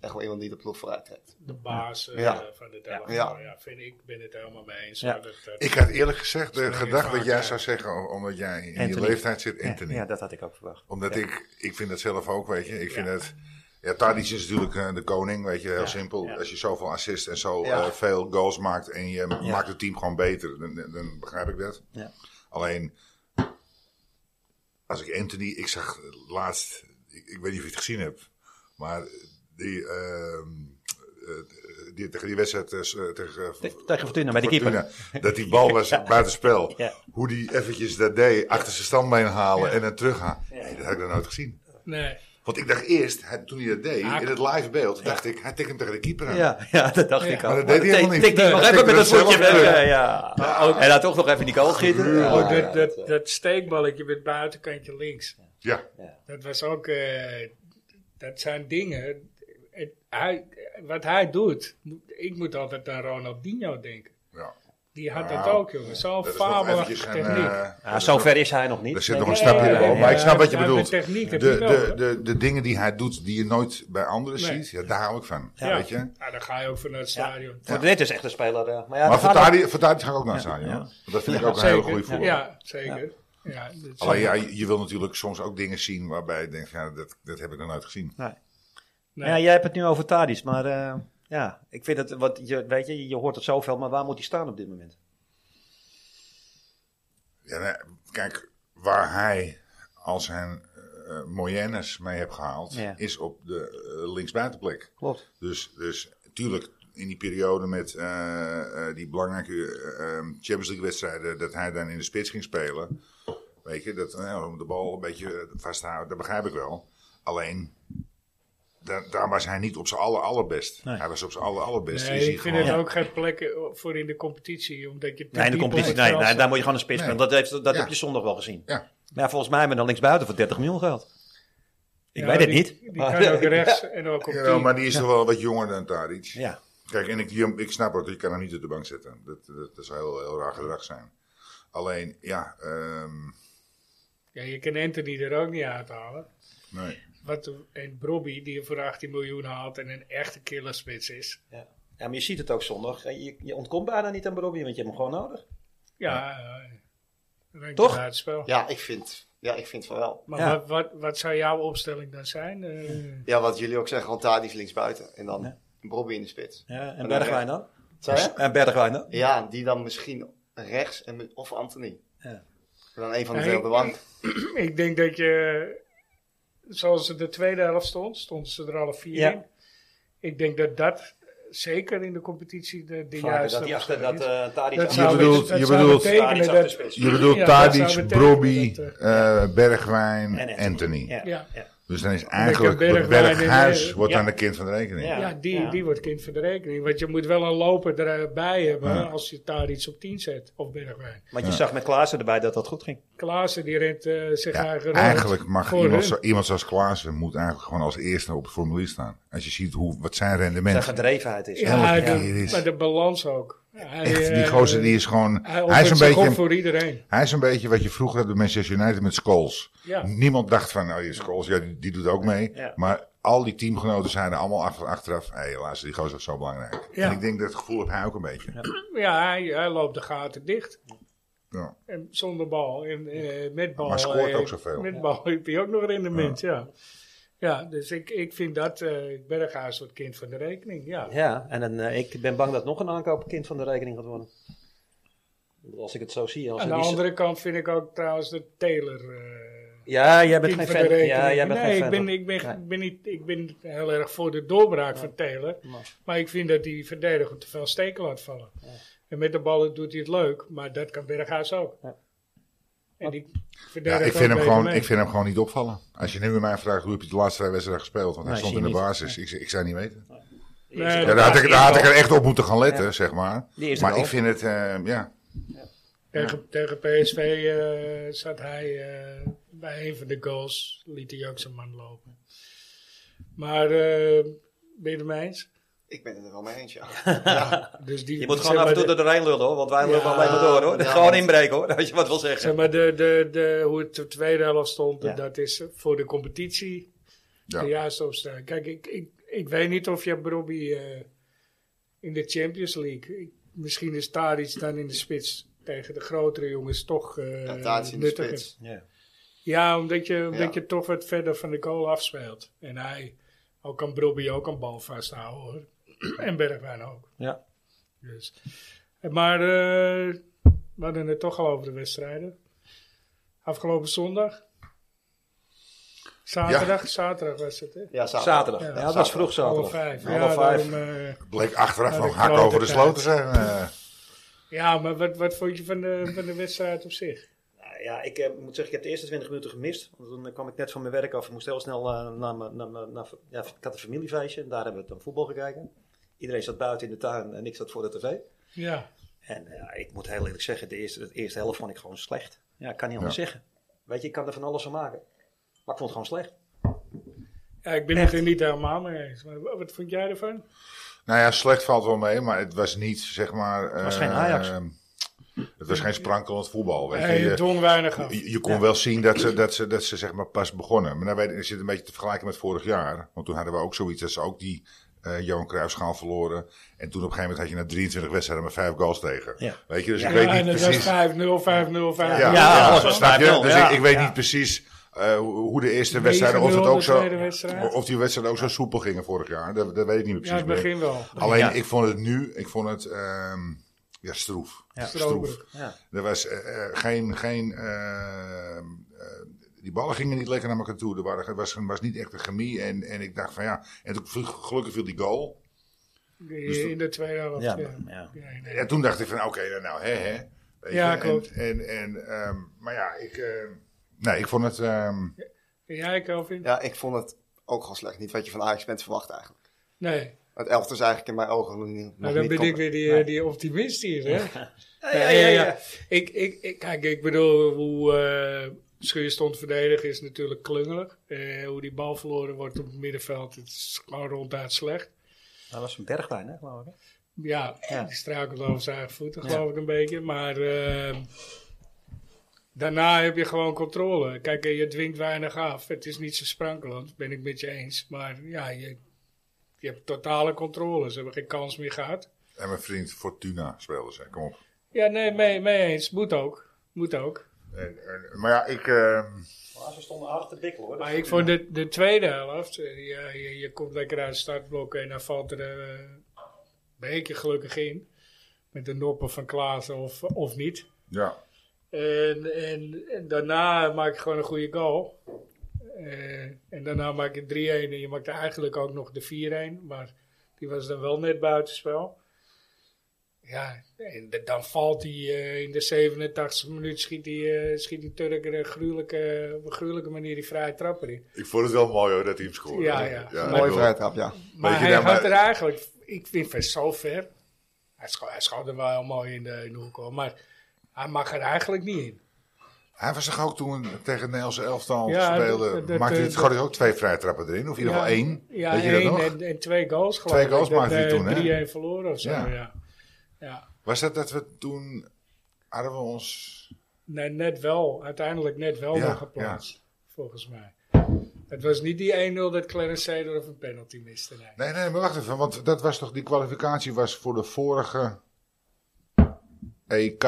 S5: Echt wel iemand die de ploeg vooruit trekt.
S1: De baas eh,
S5: Ja.
S1: van de telefoon.
S5: Ja.
S1: Ja. vind ik ben het helemaal mee eens.
S2: Ja.
S1: hoor. Dat, dat-
S3: Ik had eerlijk gezegd eh,
S1: Sorry,
S3: gedacht
S1: vaak,
S3: dat jij
S1: ja.
S3: zou zeggen, om- omdat jij in je
S2: Anthony.
S3: leeftijd zit, Anthony.
S2: Ja, ja, dat had ik ook verwacht.
S3: Omdat
S2: Ja.
S3: ik, ik vind dat zelf ook, weet je. Ik vind
S1: Ja.
S3: het, ja, Tadic is natuurlijk eh, de koning, weet je, heel
S2: Ja,
S3: simpel.
S2: ja.
S3: Als je zoveel assists en zo
S5: Ja.
S3: eh, veel goals maakt en je maakt het team gewoon beter, dan, dan- dan begrijp ik dat.
S2: Ja.
S3: Alleen, als ik Anthony, ik zag laatst, ik, ik weet niet of je het gezien hebt, maar die, ehm, eh, die tegen die wedstrijd eh, s- eh, tegen, eh,
S2: Te- tegen Fortuna, met die
S3: Fortuna,
S2: keeper.
S3: dat die bal was buitenspel.
S2: <laughs> Ja.
S3: Hoe die eventjes dat deed, achter zijn standbeen halen en dan teruggaan. Nee, dat had ik dan nooit gezien.
S1: nee.
S3: Want ik dacht eerst, hij- toen hij dat deed,
S1: Ah,
S3: in het live beeld, dacht ik, hij tikt hem tegen de keeper aan.
S2: Ja, <laughs> ja, dat dacht
S1: Ja.
S2: ik al.
S3: Maar dat deed hij helemaal niet.
S2: Tik, tik,
S3: Nee,
S2: nog
S3: hij
S2: even met
S3: tikte
S2: dat
S3: het
S2: voetje
S3: zelf
S2: weg.
S3: terug.
S2: eh, Ja. En dan toch nog even die goal schieten. Ja,
S1: Oh,
S2: ja,
S1: dat, dat,
S2: dat, eh,
S1: dat steekballetje met buitenkantje links.
S3: Ja.
S1: Dat was ook. eh, dat zijn dingen. Het- hij, wat hij doet. Ik moet altijd aan Ronaldinho denken.
S3: ja.
S1: Die had
S3: Nou,
S1: dat ook, jongen. Zo'n
S3: Dat is nog eventjes
S1: fabelachtige
S3: geen...
S1: techniek.
S3: eh,
S2: ja, zover is hij nog niet.
S3: er zit nog
S2: denk
S3: een
S2: ik.
S3: stapje
S2: Ja,
S3: in,
S2: ja,
S3: hoor,
S2: ja.
S3: maar ik snap wat je
S1: Ja, met
S3: bedoelt.
S1: techniek
S3: De,
S1: heb je wel,
S3: de,
S1: hoor.
S3: de, de dingen die hij doet, die je nooit bij anderen
S1: Nee.
S3: ziet, ja, daar hou ik van.
S2: Ja.
S3: Weet je?
S1: Ja, dan ga je ook vanuit het stadion.
S2: Voor dit is echt een speler. eh, Maar, ja,
S3: Maar
S2: dat
S3: voor
S2: gaat
S3: Tadic- voor Tadic ga ik ook naar staan, joh. Want Dat vind ik ook een hele goede
S1: Zeker.
S3: voetbal.
S1: Ja, zeker. Ja, dat is-
S3: Alleen ja, je je wil natuurlijk soms ook dingen zien waarbij je denkt, ja, dat, dat heb ik nog nooit gezien.
S2: Nee.
S1: Nee.
S2: Ja, jij hebt het nu over Tadic, maar eh, ja, ik vind het, wat, je, weet je, je hoort het zoveel, maar waar moet hij staan op dit moment?
S3: Ja, nee, kijk, waar hij al zijn eh moyennes mee heeft gehaald,
S2: Ja.
S3: is op de eh, linksbuitenplek.
S2: Klopt.
S3: Dus, dus tuurlijk, in die periode met eh, eh, die belangrijke eh, eh, Champions League wedstrijden, dat hij dan in de spits ging spelen. Weet je, dat, eh, om de bal een beetje eh, vast te houden, dat begrijp ik wel. Alleen, da- daar was hij niet op zijn aller allerbest.
S2: Nee.
S3: Hij was op zijn aller allerbest.
S1: Nee,
S3: is hij
S1: ik vind
S3: gewoon-
S1: het ook geen plek eh, voor in de competitie. Omdat je te
S2: Nee, in de
S1: diep op
S2: competitie,
S1: het
S2: nee,
S1: veld
S2: nee,
S1: zit.
S2: daar moet je gewoon een spits
S3: Nee.
S2: spelen. Dat, heeft, dat
S3: Ja.
S2: heb je zondag wel gezien.
S3: Ja.
S2: Maar ja, volgens mij hebben we dan linksbuiten voor 30 miljoen geld. Ik
S1: Ja,
S2: weet het
S1: die-
S2: niet.
S1: Die
S2: maar-
S1: kan ook
S2: <laughs>
S1: rechts en ook op
S3: Ja,
S1: tien.
S3: maar die is toch wel wat jonger dan Tadic.
S2: Ja,
S3: Kijk, en ik, ik snap ook, je kan hem niet op de bank zetten. Dat, dat, dat zou heel, heel raar gedrag zijn. Alleen, ja, ehm,
S1: Ja, je kan Anthony er ook niet uithalen.
S3: nee.
S1: Wat een Brobby die je voor 18 miljoen haalt en een echte killerspits is.
S2: ja. ja, maar je ziet het ook zondag. Je, je ontkomt bijna niet aan Robbie, want je hebt hem gewoon nodig.
S1: Ja, eh, dan
S2: Toch?
S1: kan hij het spel.
S5: Ja, ik vind, ja, ik vind van wel.
S1: Maar
S2: Ja.
S1: Wat, wat, wat zou jouw opstelling dan zijn? Eh,
S5: Ja, wat jullie ook zeggen, want Tadic linksbuiten en dan
S2: Ja.
S5: Bobby in de spits.
S2: Ja, en
S5: dan
S2: Bergwijn dan?
S5: Zou je?
S2: En Bergwijn dan?
S5: Ja, die dan misschien rechts en, of Anthony.
S2: Ja.
S5: En dan een van de
S1: Ja,
S5: twee
S1: ik-
S5: op de bank.
S3: Hmm.
S1: ik denk dat je, zoals het de tweede helft stond, stonden ze er alle vier
S2: Ja.
S1: in. Ik denk dat dat zeker in de competitie de, de
S2: Vaker
S1: juiste
S2: dat die achter
S1: opstelling
S2: dat
S1: is.
S2: eh Tadic
S1: Dat
S2: aan-
S1: zou, dus-
S3: bedoelt-
S1: dat
S3: je
S1: zou
S3: bedoelt-
S1: betekenen
S2: Tadic
S1: dat...
S2: achter de spits.
S3: Je bedoelt
S1: Ja, dat zou
S3: Tadic,
S1: betekenen
S3: Brobby,
S1: dat,
S3: eh, Bergwijn
S2: En
S3: en
S2: Anthony.
S3: Anthony.
S2: Ja,
S1: Ja.
S2: ja.
S3: Dus dan is eigenlijk
S1: heb
S3: het
S1: Bergwijn
S3: Berghuis
S1: in-
S3: wordt
S2: Ja.
S3: aan de kind van de rekening.
S2: Ja.
S1: Ja, die, die wordt kind van de rekening. Want je moet wel een loper erbij hebben
S3: Ja.
S1: als je daar iets op 10 zet. Of Bergwijn.
S2: Want je zag met Klaassen erbij dat dat goed ging.
S1: Klaassen die rent eh, zich
S3: Ja,
S1: eigen rond
S3: eigenlijk mag
S1: voor
S3: iemand,
S1: hun.
S3: zo- iemand zoals Klaassen moet eigenlijk gewoon als eerste op het formulier staan. Als je ziet hoe, wat zijn
S2: Zijn
S3: rendement
S2: gedrevenheid is.
S1: Ja,
S3: elke
S1: de-
S3: keer is-
S1: Maar de balans ook. Hij,
S3: Echt, die
S1: eh,
S3: gozer die is gewoon,
S1: Hij,
S3: hij is een beetje...
S1: voor iedereen.
S3: Hij is een beetje wat je vroeger had bij Manchester United met Scholes.
S1: Ja.
S3: Niemand dacht van, nou, die Scholes, ja, die, die doet ook mee.
S2: Ja.
S3: Maar al die teamgenoten zeiden allemaal achter, achteraf, hé, hey, luister, die gozer is zo belangrijk.
S1: Ja.
S3: En ik denk dat het gevoel heb hij ook een beetje. Ja.
S1: Ja, hij, hij loopt de gaten dicht. En zonder bal en eh, met bal.
S3: Maar scoort
S1: eh,
S3: ook zoveel.
S1: <laughs> Met bal heeft hij ook nog rendement, ja. Ja, dus ik, ik vind dat, eh Berghuis wordt kind van de rekening, ja.
S2: Ja, en dan, eh, ik ben bang dat nog een aankoopkind van de rekening gaat worden. Ik bedoel, Als ik het zo zie. Als
S1: Aan
S2: het
S1: de
S2: niet zo-
S1: andere kant vind ik ook trouwens de Taylor... eh,
S2: Ja, jij bent
S1: Kind
S2: geen
S1: van de
S2: fan. Ja,
S1: rekening.
S2: jij bent
S1: nee,
S2: geen fan.
S1: ik ben,
S2: van-
S1: ik, ben,
S2: Nee.
S1: ik ben niet, ik ben heel erg voor de doorbraak van Taylor.
S2: Maar-
S1: Maar ik vind dat die verdediger te veel steken laat vallen. En met de ballen doet hij het leuk, maar dat kan Berghuis ook.
S2: Ja.
S1: En die
S3: Ja,
S1: verdediger
S3: ik, vind hem
S1: beter
S3: gewoon,
S1: mee.
S3: ik vind hem gewoon niet opvallen. Als je nu bij mij vraagt hoe heb je de laatste twee wedstrijden gespeeld, want
S2: Nee,
S3: hij stond
S2: zie
S3: in de
S2: je niet.
S3: basis. Ik, ik zou niet weten.
S1: Nee,
S2: Ja,
S3: Ja,
S1: dat-
S3: daar had ik, daar had ik er echt op moeten gaan letten,
S2: Ja.
S3: zeg maar.
S2: Die eerste
S3: Maar
S2: goal.
S3: ik vind het, eh, ja.
S1: tegen, tegen PSV eh, zat hij eh, bij een van de goals, liet hij ook zijn man lopen. Maar eh, ben je het mee eens?
S5: Ik ben het er wel mee eens, ja.
S1: Dus die,
S4: Je moet
S1: zeg
S4: gewoon af en
S1: maar
S4: toe
S1: de-
S4: er doorheen lullen hoor, want wij lullen
S1: Ja,
S4: alleen maar door hoor.
S5: ja,
S4: gewoon
S5: want-
S4: inbreken hoor, als je wat wil zeggen.
S1: Zeg maar, de, de, de, hoe het de tweede helft stond,
S2: Ja.
S1: dat is voor de competitie
S3: ja.
S1: de juiste opstelling. Kijk, ik, ik, ik weet niet of je Robbie eh, in de Champions League, ik- misschien is Tadic dan in de spits tegen de grotere jongens toch eh
S5: Ja, Tadic in de
S1: nuttiger.
S5: spits.
S2: Ja.
S1: Ja, omdat je, omdat
S5: Ja.
S1: je toch wat verder van de goal afspeelt. En hij, ook kan Brobbey ook een bal vasthouden hoor. <clears throat> en Bergwijn ook.
S2: Ja.
S1: Dus. Maar eh, we hadden het toch al over de wedstrijden. Afgelopen zondag. Zaterdag, zaterdag was het hè?
S5: Ja,
S4: Zaterdag.
S1: Ja,
S2: Ja, dat was vroeg
S1: Half
S2: zaterdag.
S1: vijf.
S2: Half
S1: ja,
S2: vijf.
S1: daarom, eh,
S3: Het bleek achteraf
S1: Ja,
S3: wel
S1: de
S3: hak over de
S1: klote
S3: sloot te zijn. eh.
S1: ja, maar wat, wat vond je van de, van de wedstrijd op zich?
S2: Nou ja, ik eh, moet zeggen, ik heb de eerste 20 minuten gemist. Want toen eh, kwam ik net van mijn werk af. Ik moest heel snel eh, naar, mijn- naar, mijn- naar- ja, ik had een familiefeestje. En daar hebben we dan voetbal gekeken. Iedereen zat buiten in de tuin en ik zat voor de tv.
S1: Ja,
S2: En eh, ja, ik moet heel eerlijk zeggen, de eerste, de eerste helft vond ik gewoon slecht. Ja, ik kan niet anders zeggen. Weet je, ik kan er van alles van maken. Maar ik vond het gewoon slecht.
S1: ja ik ben het er niet helemaal mee eens. Maar wat wat vond jij ervan?
S3: Nou ja, slecht valt wel mee, maar het was niet, zeg maar... Het
S2: was geen Ajax.
S3: het was geen sprankelend voetbal, weet
S1: Hij
S3: je. Je-
S1: dwong weinig af.
S3: Je, je kon wel zien dat ze, dat ze, dat ze zeg maar pas begonnen. Maar dan weet, is het een beetje te vergelijken met vorig jaar. Want toen hadden we ook zoiets dat ze ook die eh Johan Cruijffschaal verloren. En toen op een gegeven moment had je na 23 wedstrijden maar vijf goals tegen.
S2: Ja.
S3: Weet je, dus ik
S1: Ja,
S3: weet
S1: en
S3: niet
S1: het was 5-0,
S3: precies...
S1: 5-0, 5-0.
S3: Ja,
S4: Ja,
S3: ja,
S4: alles was
S3: snap je?
S4: 5-0,
S3: Dus
S4: ja.
S3: ik, ik weet niet precies eh, hoe hoe de eerste wedstrijden, of, het
S1: 9-0
S3: ook
S1: de
S3: zo,
S1: tweede wedstrijd.
S3: of die wedstrijden ook zo soepel gingen vorig jaar. Dat, dat weet ik niet meer
S1: Ja,
S3: precies
S1: het begin
S3: meer.
S1: wel.
S3: Alleen, ik vond het nu, ik vond het ehm, ja, stroef.
S1: Stroberig.
S2: Ja.
S3: Er was eh, eh, geen, geen eh, eh, die ballen gingen niet lekker naar elkaar toe. Er waren, was, was niet echt een chemie. En, en ik dacht van ja, en toen viel- gelukkig viel die goal.
S1: In in de tweede helft. Ja,
S2: Ja,
S1: ja.
S2: ja.
S1: nee.
S3: En toen dacht ik van oké, nou hè hè. Weet
S1: Ja,
S3: je,
S1: klopt.
S3: En, en, en, ehm, maar ja, ik, eh, nee, ik vond het, ehm,
S1: En Jij, Kelvin?
S5: Ja, ik vond het ook gewoon slecht. Niet wat je van Ajax bent verwacht eigenlijk.
S1: Nee,
S5: Het elftal is eigenlijk in mijn ogen nog niet
S1: nou,
S5: nog
S1: dan
S5: niet
S1: ben
S5: top.
S1: ik weer die, eh, die optimist hier, hè? <laughs>
S2: ja,
S1: Nee,
S2: ja, ja.
S1: Ik, ik, ik, kijk, ik bedoel, hoe eh Schuur stond verdedigen is natuurlijk klungelig. Eh, hoe die bal verloren wordt op het middenveld, het is gewoon ronduit slecht.
S2: Nou, Dat was een bergwijn, hè, geloof ik.
S1: Ja,
S2: Ja.
S1: die struikelt over zijn eigen voeten, geloof ik een beetje. Maar eh, daarna heb je gewoon controle. Kijk, eh, je dwingt weinig af. Het is niet zo sprankelend, ben ik met je eens. Maar ja, je, je hebt totale controle. Ze hebben geen kans meer gehad.
S3: en mijn vriend Fortuna speelde ze, kom op.
S1: Ja, nee, mee, mee eens. Moet ook. Moet ook.
S3: En, en- maar ja, ik, ehm,
S2: Maar ze stonden aardig te bikkelen, hoor.
S1: Maar ik vond de, de tweede helft, eh, ja, je, je komt lekker uit het startblok en dan valt er eh, een beetje gelukkig in. Met de noppen van Klaassen of, of niet.
S3: ja.
S1: En, en, en daarna maak je gewoon een goede goal. Eh, en daarna maak je 3-1 en je maakt eigenlijk ook nog de 4-1. Maar die was dan wel net buitenspel. Ja, en de- dan valt hij eh, in de 87e minuut, schiet die, eh, schiet die Turk er een gruwelijke, op een gruwelijke manier die vrije trap erin.
S3: Ik vond het wel mooi hoor, dat hij hem scoorde.
S1: Ja, ja. Mooie
S3: ik
S5: Mooie
S3: bedoel-
S5: vrijtrap, ja.
S1: Maar
S3: je,
S1: hij
S3: nou,
S1: had
S3: maar-
S1: er eigenlijk, ik vind van zo ver. Hij scho- hij schoot er wel heel mooi in de, in de hoek, hoor, maar hij mag er eigenlijk niet in.
S3: Hij was toch ook toen tegen het Nederlandse elftal
S1: Ja,
S3: speelde.
S1: dat- dat-
S3: maakte hij
S1: dat-
S3: schoot hij ook twee vrijtrappen erin, of in ieder geval
S1: Ja,
S3: één.
S1: Ja,
S3: Weet je dat
S1: één
S3: nog?
S1: en, en twee goals geloof
S3: Twee goals
S1: ik. Dat,
S3: maakte hij
S1: eh,
S3: toen, hè?
S1: 3-1 verloren of zo,
S3: Ja.
S1: ja. ja.
S3: Was dat dat we toen hadden we ons.
S1: Nee, net wel. Uiteindelijk net wel
S3: Ja,
S1: nog geplaatst, volgens mij. Het was niet die 1-0 dat Clarence Seedorf een penalty miste. Nee.
S3: Nee, nee, maar wacht even, want dat was toch die kwalificatie was voor de vorige E EK.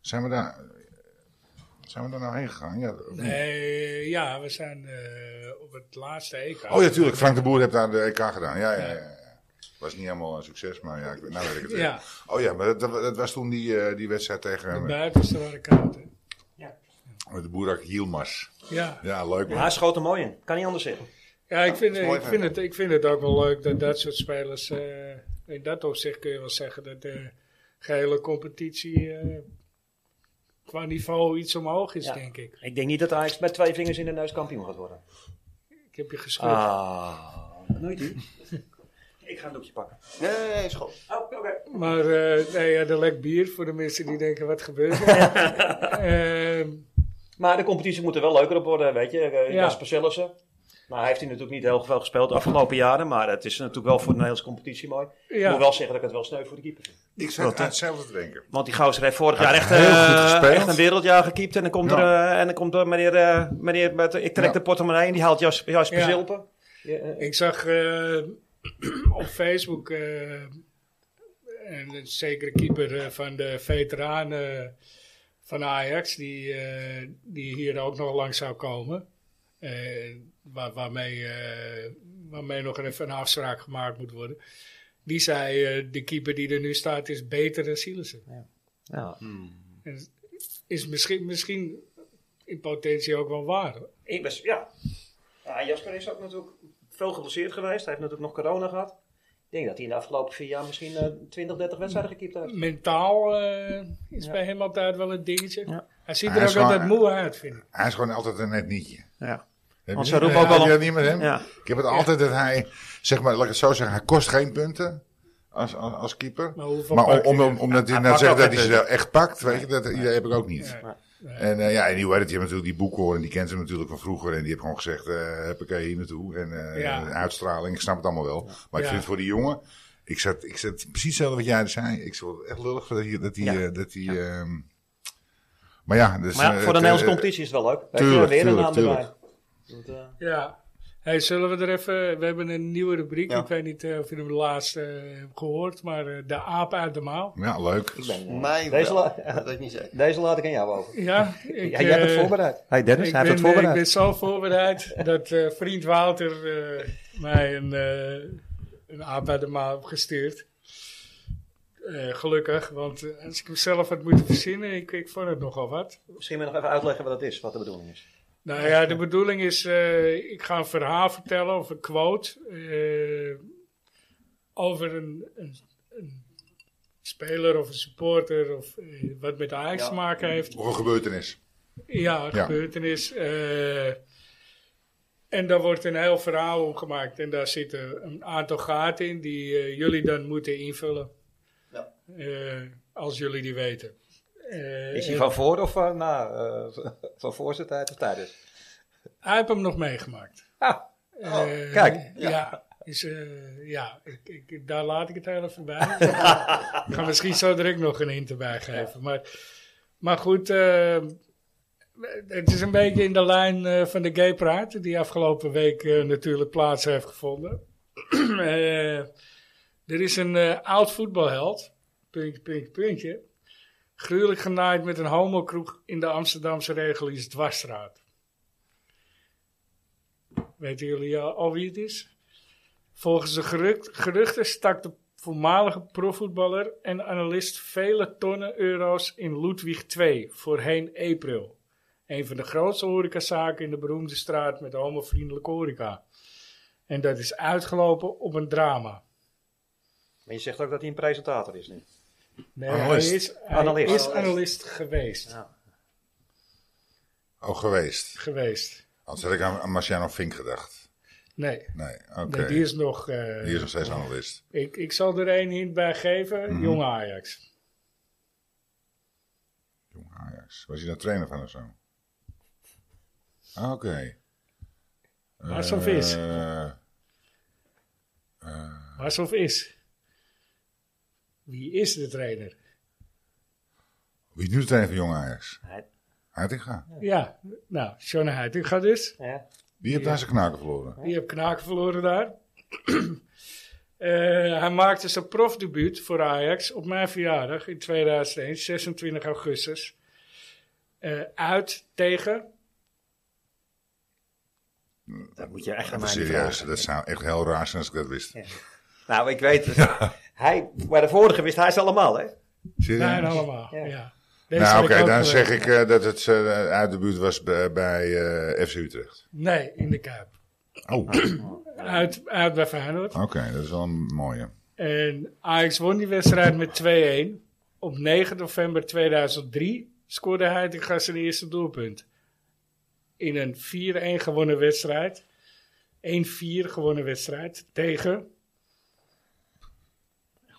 S3: Zijn we daar? Zijn we daar nou heen gegaan? Ja, of niet?
S1: Nee, ja, we zijn eh, op het laatste EK.
S3: Oh ja, tuurlijk. Frank de Boer heeft daar de EK gedaan. Ja, ja, ja. ja. Was niet helemaal een succes, maar ja, ik, weet- nou weet ik het weer.
S1: Ja.
S3: Oh ja, maar dat, dat- dat was toen die, eh, die wedstrijd tegen
S1: De
S3: eh,
S1: buitenste waren kaarten.
S3: met Oh, de Boerak Yilmaz.
S1: Ja,
S3: Ja, leuk man.
S2: Maar hij schoot er mooi in. Kan niet anders zeggen.
S1: ja ik, vind,
S5: is mooi
S1: ik,
S5: van
S1: vind het, ik vind het ook wel leuk dat dat soort spelers... eh, in dat opzicht kun je wel zeggen dat de gehele competitie... eh, qua niveau iets omhoog is,
S2: Ja.
S1: denk ik.
S2: Ik denk niet dat Ajax met twee vingers in de neus kampioen gaat worden.
S1: Ik heb je geschud.
S2: Ah. Nooit u. Ik ga een doekje pakken.
S5: Nee, nee, nee, is goed.
S2: Oh, oké.
S1: Maar eh, nee, ja, er lekt bier voor de mensen die denken, wat gebeurt er? Ehm,
S2: Maar de competitie moet er wel leuker op worden, weet je. Eh,
S1: Ja.
S2: Jasper Sillissen. Nou, hij heeft hier natuurlijk niet heel veel gespeeld de afgelopen jaren. Maar het is natuurlijk wel voor de Nederlandse competitie mooi. Ik
S1: ja.
S2: moet wel zeggen dat ik het wel sneu voor de keeper vind.
S3: Ik zat aan hetzelfde te denken.
S2: Want die gozer heeft vorig jaar echt,
S3: heel
S2: eh,
S3: goed gespeeld.
S2: echt een wereldjaar gekiept. En dan komt,
S3: Ja.
S2: er, eh, en dan komt er meneer, eh, meneer met, ik trek
S3: Ja.
S2: de portemonnee en die haalt Jas- Jasper
S1: Ja.
S2: Silpen. Ja, eh,
S1: Ik zag eh, <clears throat> op Facebook eh, en een zekere keeper eh, van de veteranen van Ajax, die, eh, die hier ook nog langs zou komen. Eh, waar, waarmee, eh, waarmee nog even een afspraak gemaakt moet worden. Die zei, eh, de keeper die er nu staat is beter dan Sielissen.
S2: ja.
S1: En Is misschien, misschien in potentie ook wel waar. hoor.
S2: Ik ben, ja. Ja, Jasper is ook natuurlijk veel geblesseerd geweest. Hij heeft natuurlijk nog corona gehad. Ik denk dat hij in de afgelopen vier jaar misschien eh, 20, 30 wedstrijden gekiept heeft.
S1: Mentaal eh, is bij hem altijd wel een dingetje.
S2: Ja.
S1: Hij ziet
S3: Hij
S1: er ook
S3: is gewoon-
S1: altijd moe uit, vind ik.
S3: Hij is gewoon altijd een net nietje.
S2: Ja.
S3: Heb
S2: Want
S3: je
S2: ze
S3: niet-
S2: roepen ook
S3: had
S2: wel
S3: je
S2: om-
S3: dat niet met hem?
S2: Ja.
S3: Ik heb het altijd dat hij, zeg maar, laat ik het zo zeggen, hij kost geen punten als, als, als keeper.
S1: Maar hoeveel
S3: Maar om,
S1: pakt hij
S3: om, om, omdat hij
S2: Hij
S3: nou
S2: pakt
S3: zegt
S2: ook
S3: dat hij
S2: geen
S3: ze wel echt pakt, weet je, dat, die heb ik ook niet.
S1: Nee.
S3: En eh, ja, en die, hoe heet het, die heeft natuurlijk die boekhoorn, die kent hem natuurlijk van vroeger. En die heeft gewoon gezegd, eh heb ik hier naartoe. En eh,
S1: Ja.
S3: uitstraling, ik snap het allemaal wel. Maar
S1: Ja.
S3: ik vind het voor die jongen, ik zat, ik zat precies hetzelfde wat jij zei. Ik vond het echt lullig dat hij, dat hij,
S2: Ja.
S3: eh, dat hij ehm, maar ja. Dus,
S2: Maar ja, voor de
S3: eh, het,
S2: Nederlandse
S3: eh,
S2: competitie is het wel leuk. Weet je,
S3: tuurlijk,
S2: weer een
S3: tuurlijk,
S2: naam
S3: tuurlijk.
S2: erbij. Want, eh,
S1: Ja. Hey, zullen we er even... We hebben een nieuwe rubriek.
S5: Ja.
S1: Ik weet niet eh, of jullie hem laatst eh, hebt gehoord, maar eh, de aap uit de mouw.
S3: Ja, leuk.
S5: Ik ben mij
S2: Deze
S5: wel.
S2: la-
S5: Dat weet ik niet zeker.
S2: Deze laat ik aan jou over.
S1: Ja, ik,
S2: Ja, jij hebt het
S1: eh,
S2: voorbereid. Hey Dennis,
S1: Ik
S2: hij heeft
S1: ben,
S2: het
S1: eh, Ik
S2: voorbereid.
S1: ben zo voorbereid dat eh, vriend Wouter eh, mij een, eh een aap uit de mouw heeft gestuurd. Eh, gelukkig, want eh, als ik hem zelf had moeten verzinnen, ik, ik vond het nogal wat.
S2: Misschien moet je nog even uitleggen wat het is, wat de bedoeling is.
S1: Nou ja, de bedoeling is, eh, ik ga een verhaal vertellen of een quote eh, over een, een, een speler of een supporter of eh, wat met Ajax te maken heeft.
S3: Of een gebeurtenis.
S1: Ja, een
S3: Ja.
S1: gebeurtenis. eh, en daar wordt een heel verhaal om gemaakt. En daar zitten een aantal gaten in die eh, jullie dan moeten invullen.
S5: Ja.
S1: Eh, als jullie die weten. Eh,
S2: Is hij
S1: en-
S2: van voor of van na? eh, <laughs> van voor zijn tijd of tijdens?
S1: Hij heeft hem nog meegemaakt.
S2: Ah,
S1: Eh,
S2: kijk.
S1: Ja. Is, eh, ja ik, ik, daar laat ik het heel even bij. ik ga misschien zo direct nog een hint erbij geven. Maar, maar goed, eh, het is een beetje in de lijn eh, van de Gay Pride, die afgelopen week eh, natuurlijk plaats heeft gevonden. <clears throat> Eh, er is een eh, oud voetbalheld, puntje, puntje, puntje, gruwelijk genaaid met een homokroeg in de Amsterdamse regel is dwarsstraat. Weten jullie al, al wie het is? Volgens de gerucht- geruchten stak de voormalige profvoetballer en analist vele tonnen euro's in Ludwig II, voorheen April. Een van de grootste horecazaken in de beroemde straat met de homovriendelijke horeca. En dat is uitgelopen op een drama.
S2: Maar je zegt ook dat hij een presentator is nu.
S1: Nee,
S3: Analist.
S1: Hij is, hij
S2: Analist.
S1: is analist geweest.
S2: Ja.
S3: Ook geweest.
S1: geweest.
S3: Anders had ik aan, aan Marciano Fink gedacht.
S1: Nee,
S3: Nee, oké.
S1: nee, die is nog... eh,
S3: die is nog steeds analist.
S1: ik, ik zal er één hint bij geven.
S3: Mhm.
S1: Jonge Ajax.
S3: Jong Ajax. Was hij nou trainer van of zo? Ah, Oké.
S1: Mars of Vis?
S3: Eh,
S1: Was of is? Wie is de trainer?
S3: wie is nu de trainer van Jong Ajax? ah,
S2: Hij-
S3: Heitinga.
S1: Ja, nou, John Heitinga dus.
S2: Ja.
S3: Die heeft daar zijn knaken verloren.
S1: Die heeft knaken verloren daar. <clears throat> Eh, hij maakte zijn profdebuut voor Ajax op mijn verjaardag in 2001, 26 augustus. Eh, eh, uit tegen.
S2: Dat moet je echt aan
S3: Even
S2: mij niet
S3: serieus,
S2: vragen.
S3: dat zou echt heel raar zijn als ik dat wist.
S2: Nou, ik weet het. Hij, bij de vorige wist hij ze allemaal, hè?
S3: Serieus?
S1: Bijna allemaal. Ja.
S2: Ja.
S1: Nou, Deze heb
S3: nou
S1: ik
S3: oké,
S1: ook,
S3: dan
S1: eh,
S3: zeg ik eh, dat het eh, uit de buurt was bij, bij, eh, FC Utrecht.
S1: Nee, in de Kuip.
S3: Oh, <clears throat> oké,
S1: Uit, uit bij Feyenoord.
S3: dat is wel een mooie.
S1: En Ajax won die wedstrijd met 2-1. Op 9 november 2003 scoorde hij de gast zijn eerste doelpunt. In een 4-1 gewonnen wedstrijd. 1-4 gewonnen wedstrijd tegen.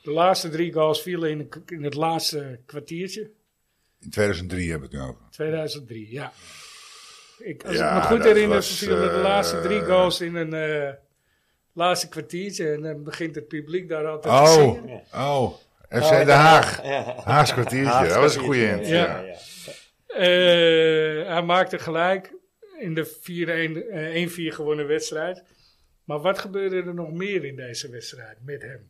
S1: De laatste drie goals vielen in, een- in het laatste kwartiertje.
S3: In 2003 hebben we het nu over.
S1: 2003, ja. Ik, als
S3: Ja,
S1: ik me goed
S3: dat
S1: herinner,
S3: was,
S1: vielen de
S3: eh,
S1: laatste drie goals in een eh, laatste kwartiertje. En dan begint het publiek daar altijd te
S3: Oh,
S1: zingen.
S3: oh, FC Den Haag.
S2: Ja.
S3: Haag's kwartiertje, dat was een goede hint.
S1: Ja.
S3: Ja.
S1: Eh, hij maakte gelijk in de 4-1, eh, 1-4 gewonnen wedstrijd. Maar wat gebeurde er nog meer in deze wedstrijd met hem?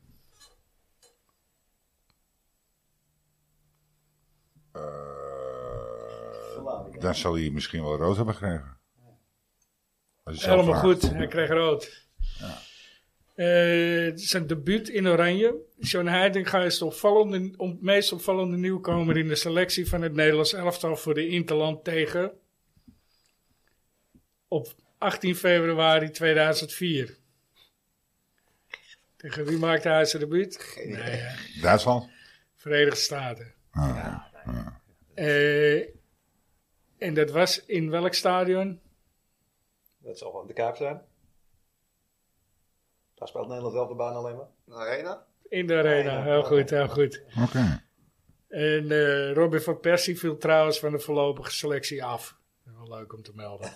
S3: Eh, dan zal hij misschien wel rood hebben gekregen. Als hij zelf
S1: Helemaal
S3: vraagt.
S1: goed, hij kreeg rood. Eh, zijn debuut in Oranje. John Heidinga is de opvallende, om- meest opvallende nieuwkomer in de selectie van het Nederlands elftal voor de Interland tegen. Op 18 februari 2004. Tegen wie maakte hij zijn debuut? Nee, hè.
S3: Duitsland?
S1: Verenigde Staten.
S3: Ah,
S1: Eh, en dat was in welk stadion?
S2: Dat zal gewoon de Kuip zijn. Daar speelt Nederland wel de baan alleen maar.
S5: Arena?
S1: In de arena. Heel goed, heel goed.
S3: Oké.
S1: En eh Robin van Persie viel trouwens van de voorlopige selectie af. Wel leuk om te melden.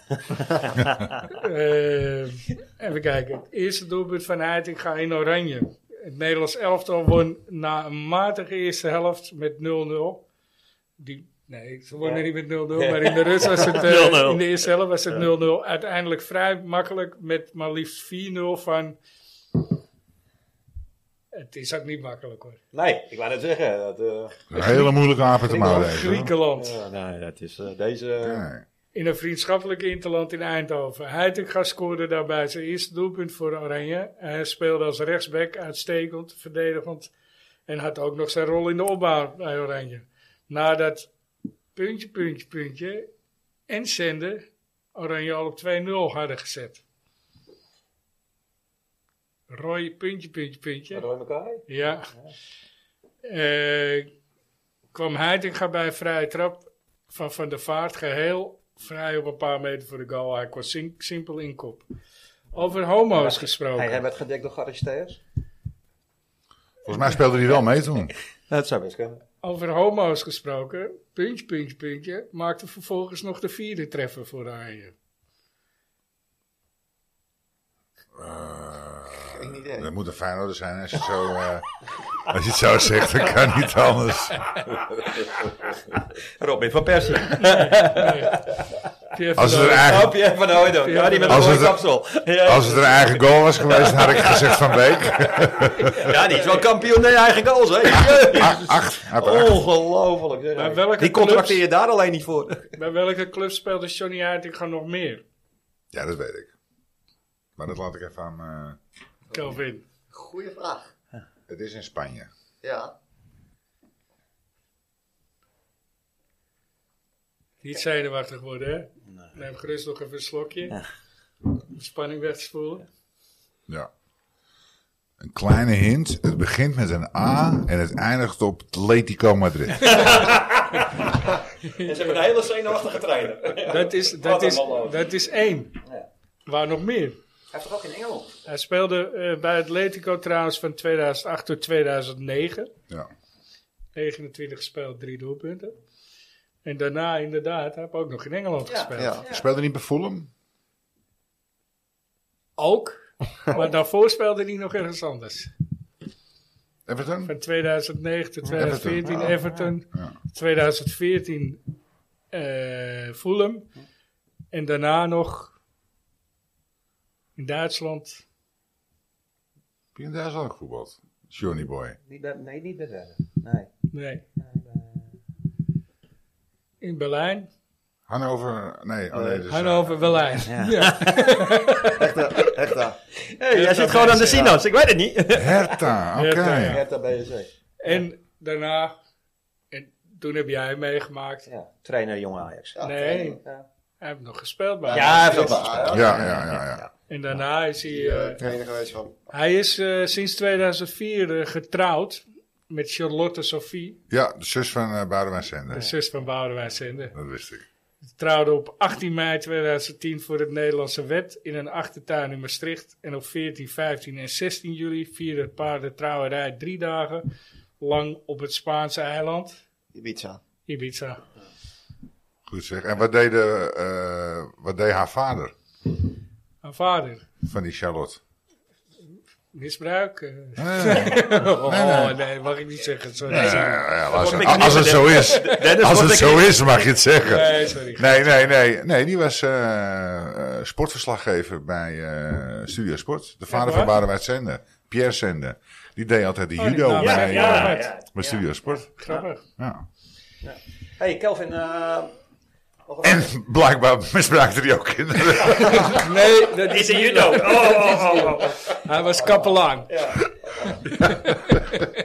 S1: Eh, even kijken. Het eerste doelpunt van Heitinga in oranje. Het Nederlands elftal won na een matige eerste helft met 0-0. Die, nee, ze wonnen niet met 0-0, maar in de rust was het... eh,
S2: 0-0.
S1: in de eerste helft was het 0-0. Uiteindelijk vrij makkelijk met maar liefst 4-0 van... Het is ook niet makkelijk hoor.
S2: Nee, ik wou net zeggen. Dat, eh,
S3: Een hele moeilijke apen te maken. deze, hoor.
S1: Griekenland.
S2: ja, nee, dat is eh, deze. eh,
S3: Nee.
S1: in een vriendschappelijk interland in Eindhoven. Heitinga scoorde daarbij zijn eerste doelpunt voor Oranje. Hij speelde als rechtsback uitstekend, verdedigend en had ook nog zijn rol in de opbouw bij Oranje. Nadat puntje, puntje, puntje en zenden Oranje al op 2-0 hadden gezet. Roy, puntje, puntje, puntje.
S2: Roy Mackay?
S1: Ja. Eh, kwam Heitinga bij een vrije trap van Van der Vaart geheel vrij op een paar meter voor de goal. Hij kon sim- simpel inkop. Over homo's gesproken.
S2: Hij, hij werd gedekt door gearresteerd.
S3: Volgens mij speelde hij wel mee toen.
S2: Dat zou best kunnen.
S1: Over homo's gesproken. Puntje, puntje, puntje. Maakte vervolgens nog de vierde treffer voor Oranje.
S5: Geen idee.
S3: Dat moet een Feyenoorder zijn als je, het zo, eh, als je het zo zegt. Dat kan niet anders.
S2: Robin van Persie.
S1: Pierre
S3: Als het,
S1: Verloren.
S3: er eigen,
S2: Pierre van Hooydonk.
S1: Ja,
S2: Ja, die met
S3: als
S2: een mooie
S3: het-
S2: kapsel. Ja,
S3: als het een eigen goal was geweest, had ik gezegd Van
S1: <laughs>
S3: Beek.
S2: ja, die is wel kampioen in eigen goals, hè?
S3: Acht. acht. Hij had er acht.
S2: Ongelooflijk. zeg.
S1: Bij welke
S2: die contracteer je daar alleen niet voor.
S1: Bij welke club speelde Johnny Heitinga nog meer?
S3: Ja, dat weet ik. Maar dat laat ik even aan... eh,
S1: Kelvin.
S5: Goeie vraag.
S3: het is in Spanje.
S5: Ja.
S1: Niet zenuwachtig worden, hè? Neem gerust nog even een slokje. Om Spanning weg te spoelen.
S3: Ja. Een kleine hint. Het begint met een A en het eindigt op Atletico Madrid.
S2: En ze hebben een hele zenuwachtige trainer.
S1: Dat is, dat
S2: Wat een
S1: is,
S2: malloot.
S1: dat is één.
S2: Ja.
S1: Waar nog meer?
S2: Hij heeft toch ook in Engeland?
S1: Hij speelde eh, bij Atletico trouwens van 2008 tot 2009.
S3: Ja.
S1: 29 gespeeld, drie doelpunten. En daarna inderdaad, hij heeft ook nog in Engeland gespeeld.
S5: Ja.
S3: Speelde niet bij Fulham? <laughs>
S1: Ook, maar daarvoor speelde hij nog ergens anders.
S3: Everton?
S1: Van 2009 tot 2014
S3: Everton.
S1: Everton.
S3: Ja.
S1: 2014 eh Fulham. En daarna nog in Duitsland.
S3: Heb je in Duitsland gevoetbald? Johnny Boy.
S2: Niet bij, nee, niet bij Werder. Nee.
S1: Nee. Eh, In Berlijn.
S3: Hannover, nee. Oh nee dus, eh,
S1: Hannover, Berlijn. Ja.
S2: Ja.
S5: Hechta, Hechta.
S4: Hey, jij zit gewoon aan de sinaas, ik weet het niet.
S3: Hertha, oké.
S1: <laughs> Hertha, ja.
S5: Hechta BSC.
S1: En daarna, en toen heb jij hem meegemaakt.
S2: Ja, trainer Jong <laughs> Ajax.
S5: Ja,
S1: nee, hij heeft nog gespeeld bij
S4: Ja,
S1: Ajax.
S4: hij heeft ook
S5: Ja,
S3: Ja, ja, ja. ja.
S1: En daarna is hij... eh,
S5: Trainer geweest van.
S1: Hij is eh, sinds 2004 eh, getrouwd met Charlotte Sophie,
S3: ja de zus van eh Boudewijn Zender.
S1: de zus van Boudewijn Zender.
S3: Dat wist ik.
S1: Ze trouwden op 18 mei 2010 voor het Nederlandse wet in een achtertuin in Maastricht. En op 14, 15 en 16 juli vierde het paar de trouwerij drie dagen lang op het Spaanse eiland
S5: Ibiza.
S1: Ibiza.
S3: Goed zeg. En wat deed, de, eh, wat deed haar vader
S1: Haar vader,
S3: van die
S1: <laughs>
S3: Charlotte?
S1: misbruik? eh.
S3: Eh, eh,
S1: oh nee, mag ik niet zeggen, sorry.
S3: eh, als,
S4: wordt
S3: als het zo
S1: <laughs>
S3: is, als het zo is, mag je het zeggen.
S1: Nee, sorry.
S3: Nee, nee, nee. Nee, die was eh, eh, sportverslaggever bij eh Studio Sport. De vader
S1: waar?
S3: van Boudewijn Zender. Pierre Zender. Die deed altijd de
S1: Oh, die
S3: judo
S1: naam.
S3: bij,
S1: Ja, ja,
S3: eh,
S1: ja.
S3: bij Studio Sport.
S1: Grappig.
S3: Ja.
S2: hey, Kelvin. eh, nog een-
S3: En blijkbaar misbruikte hij ook kinderen.
S1: Nee, dat is
S4: een judo.
S1: Oh, Hij was kapelaan.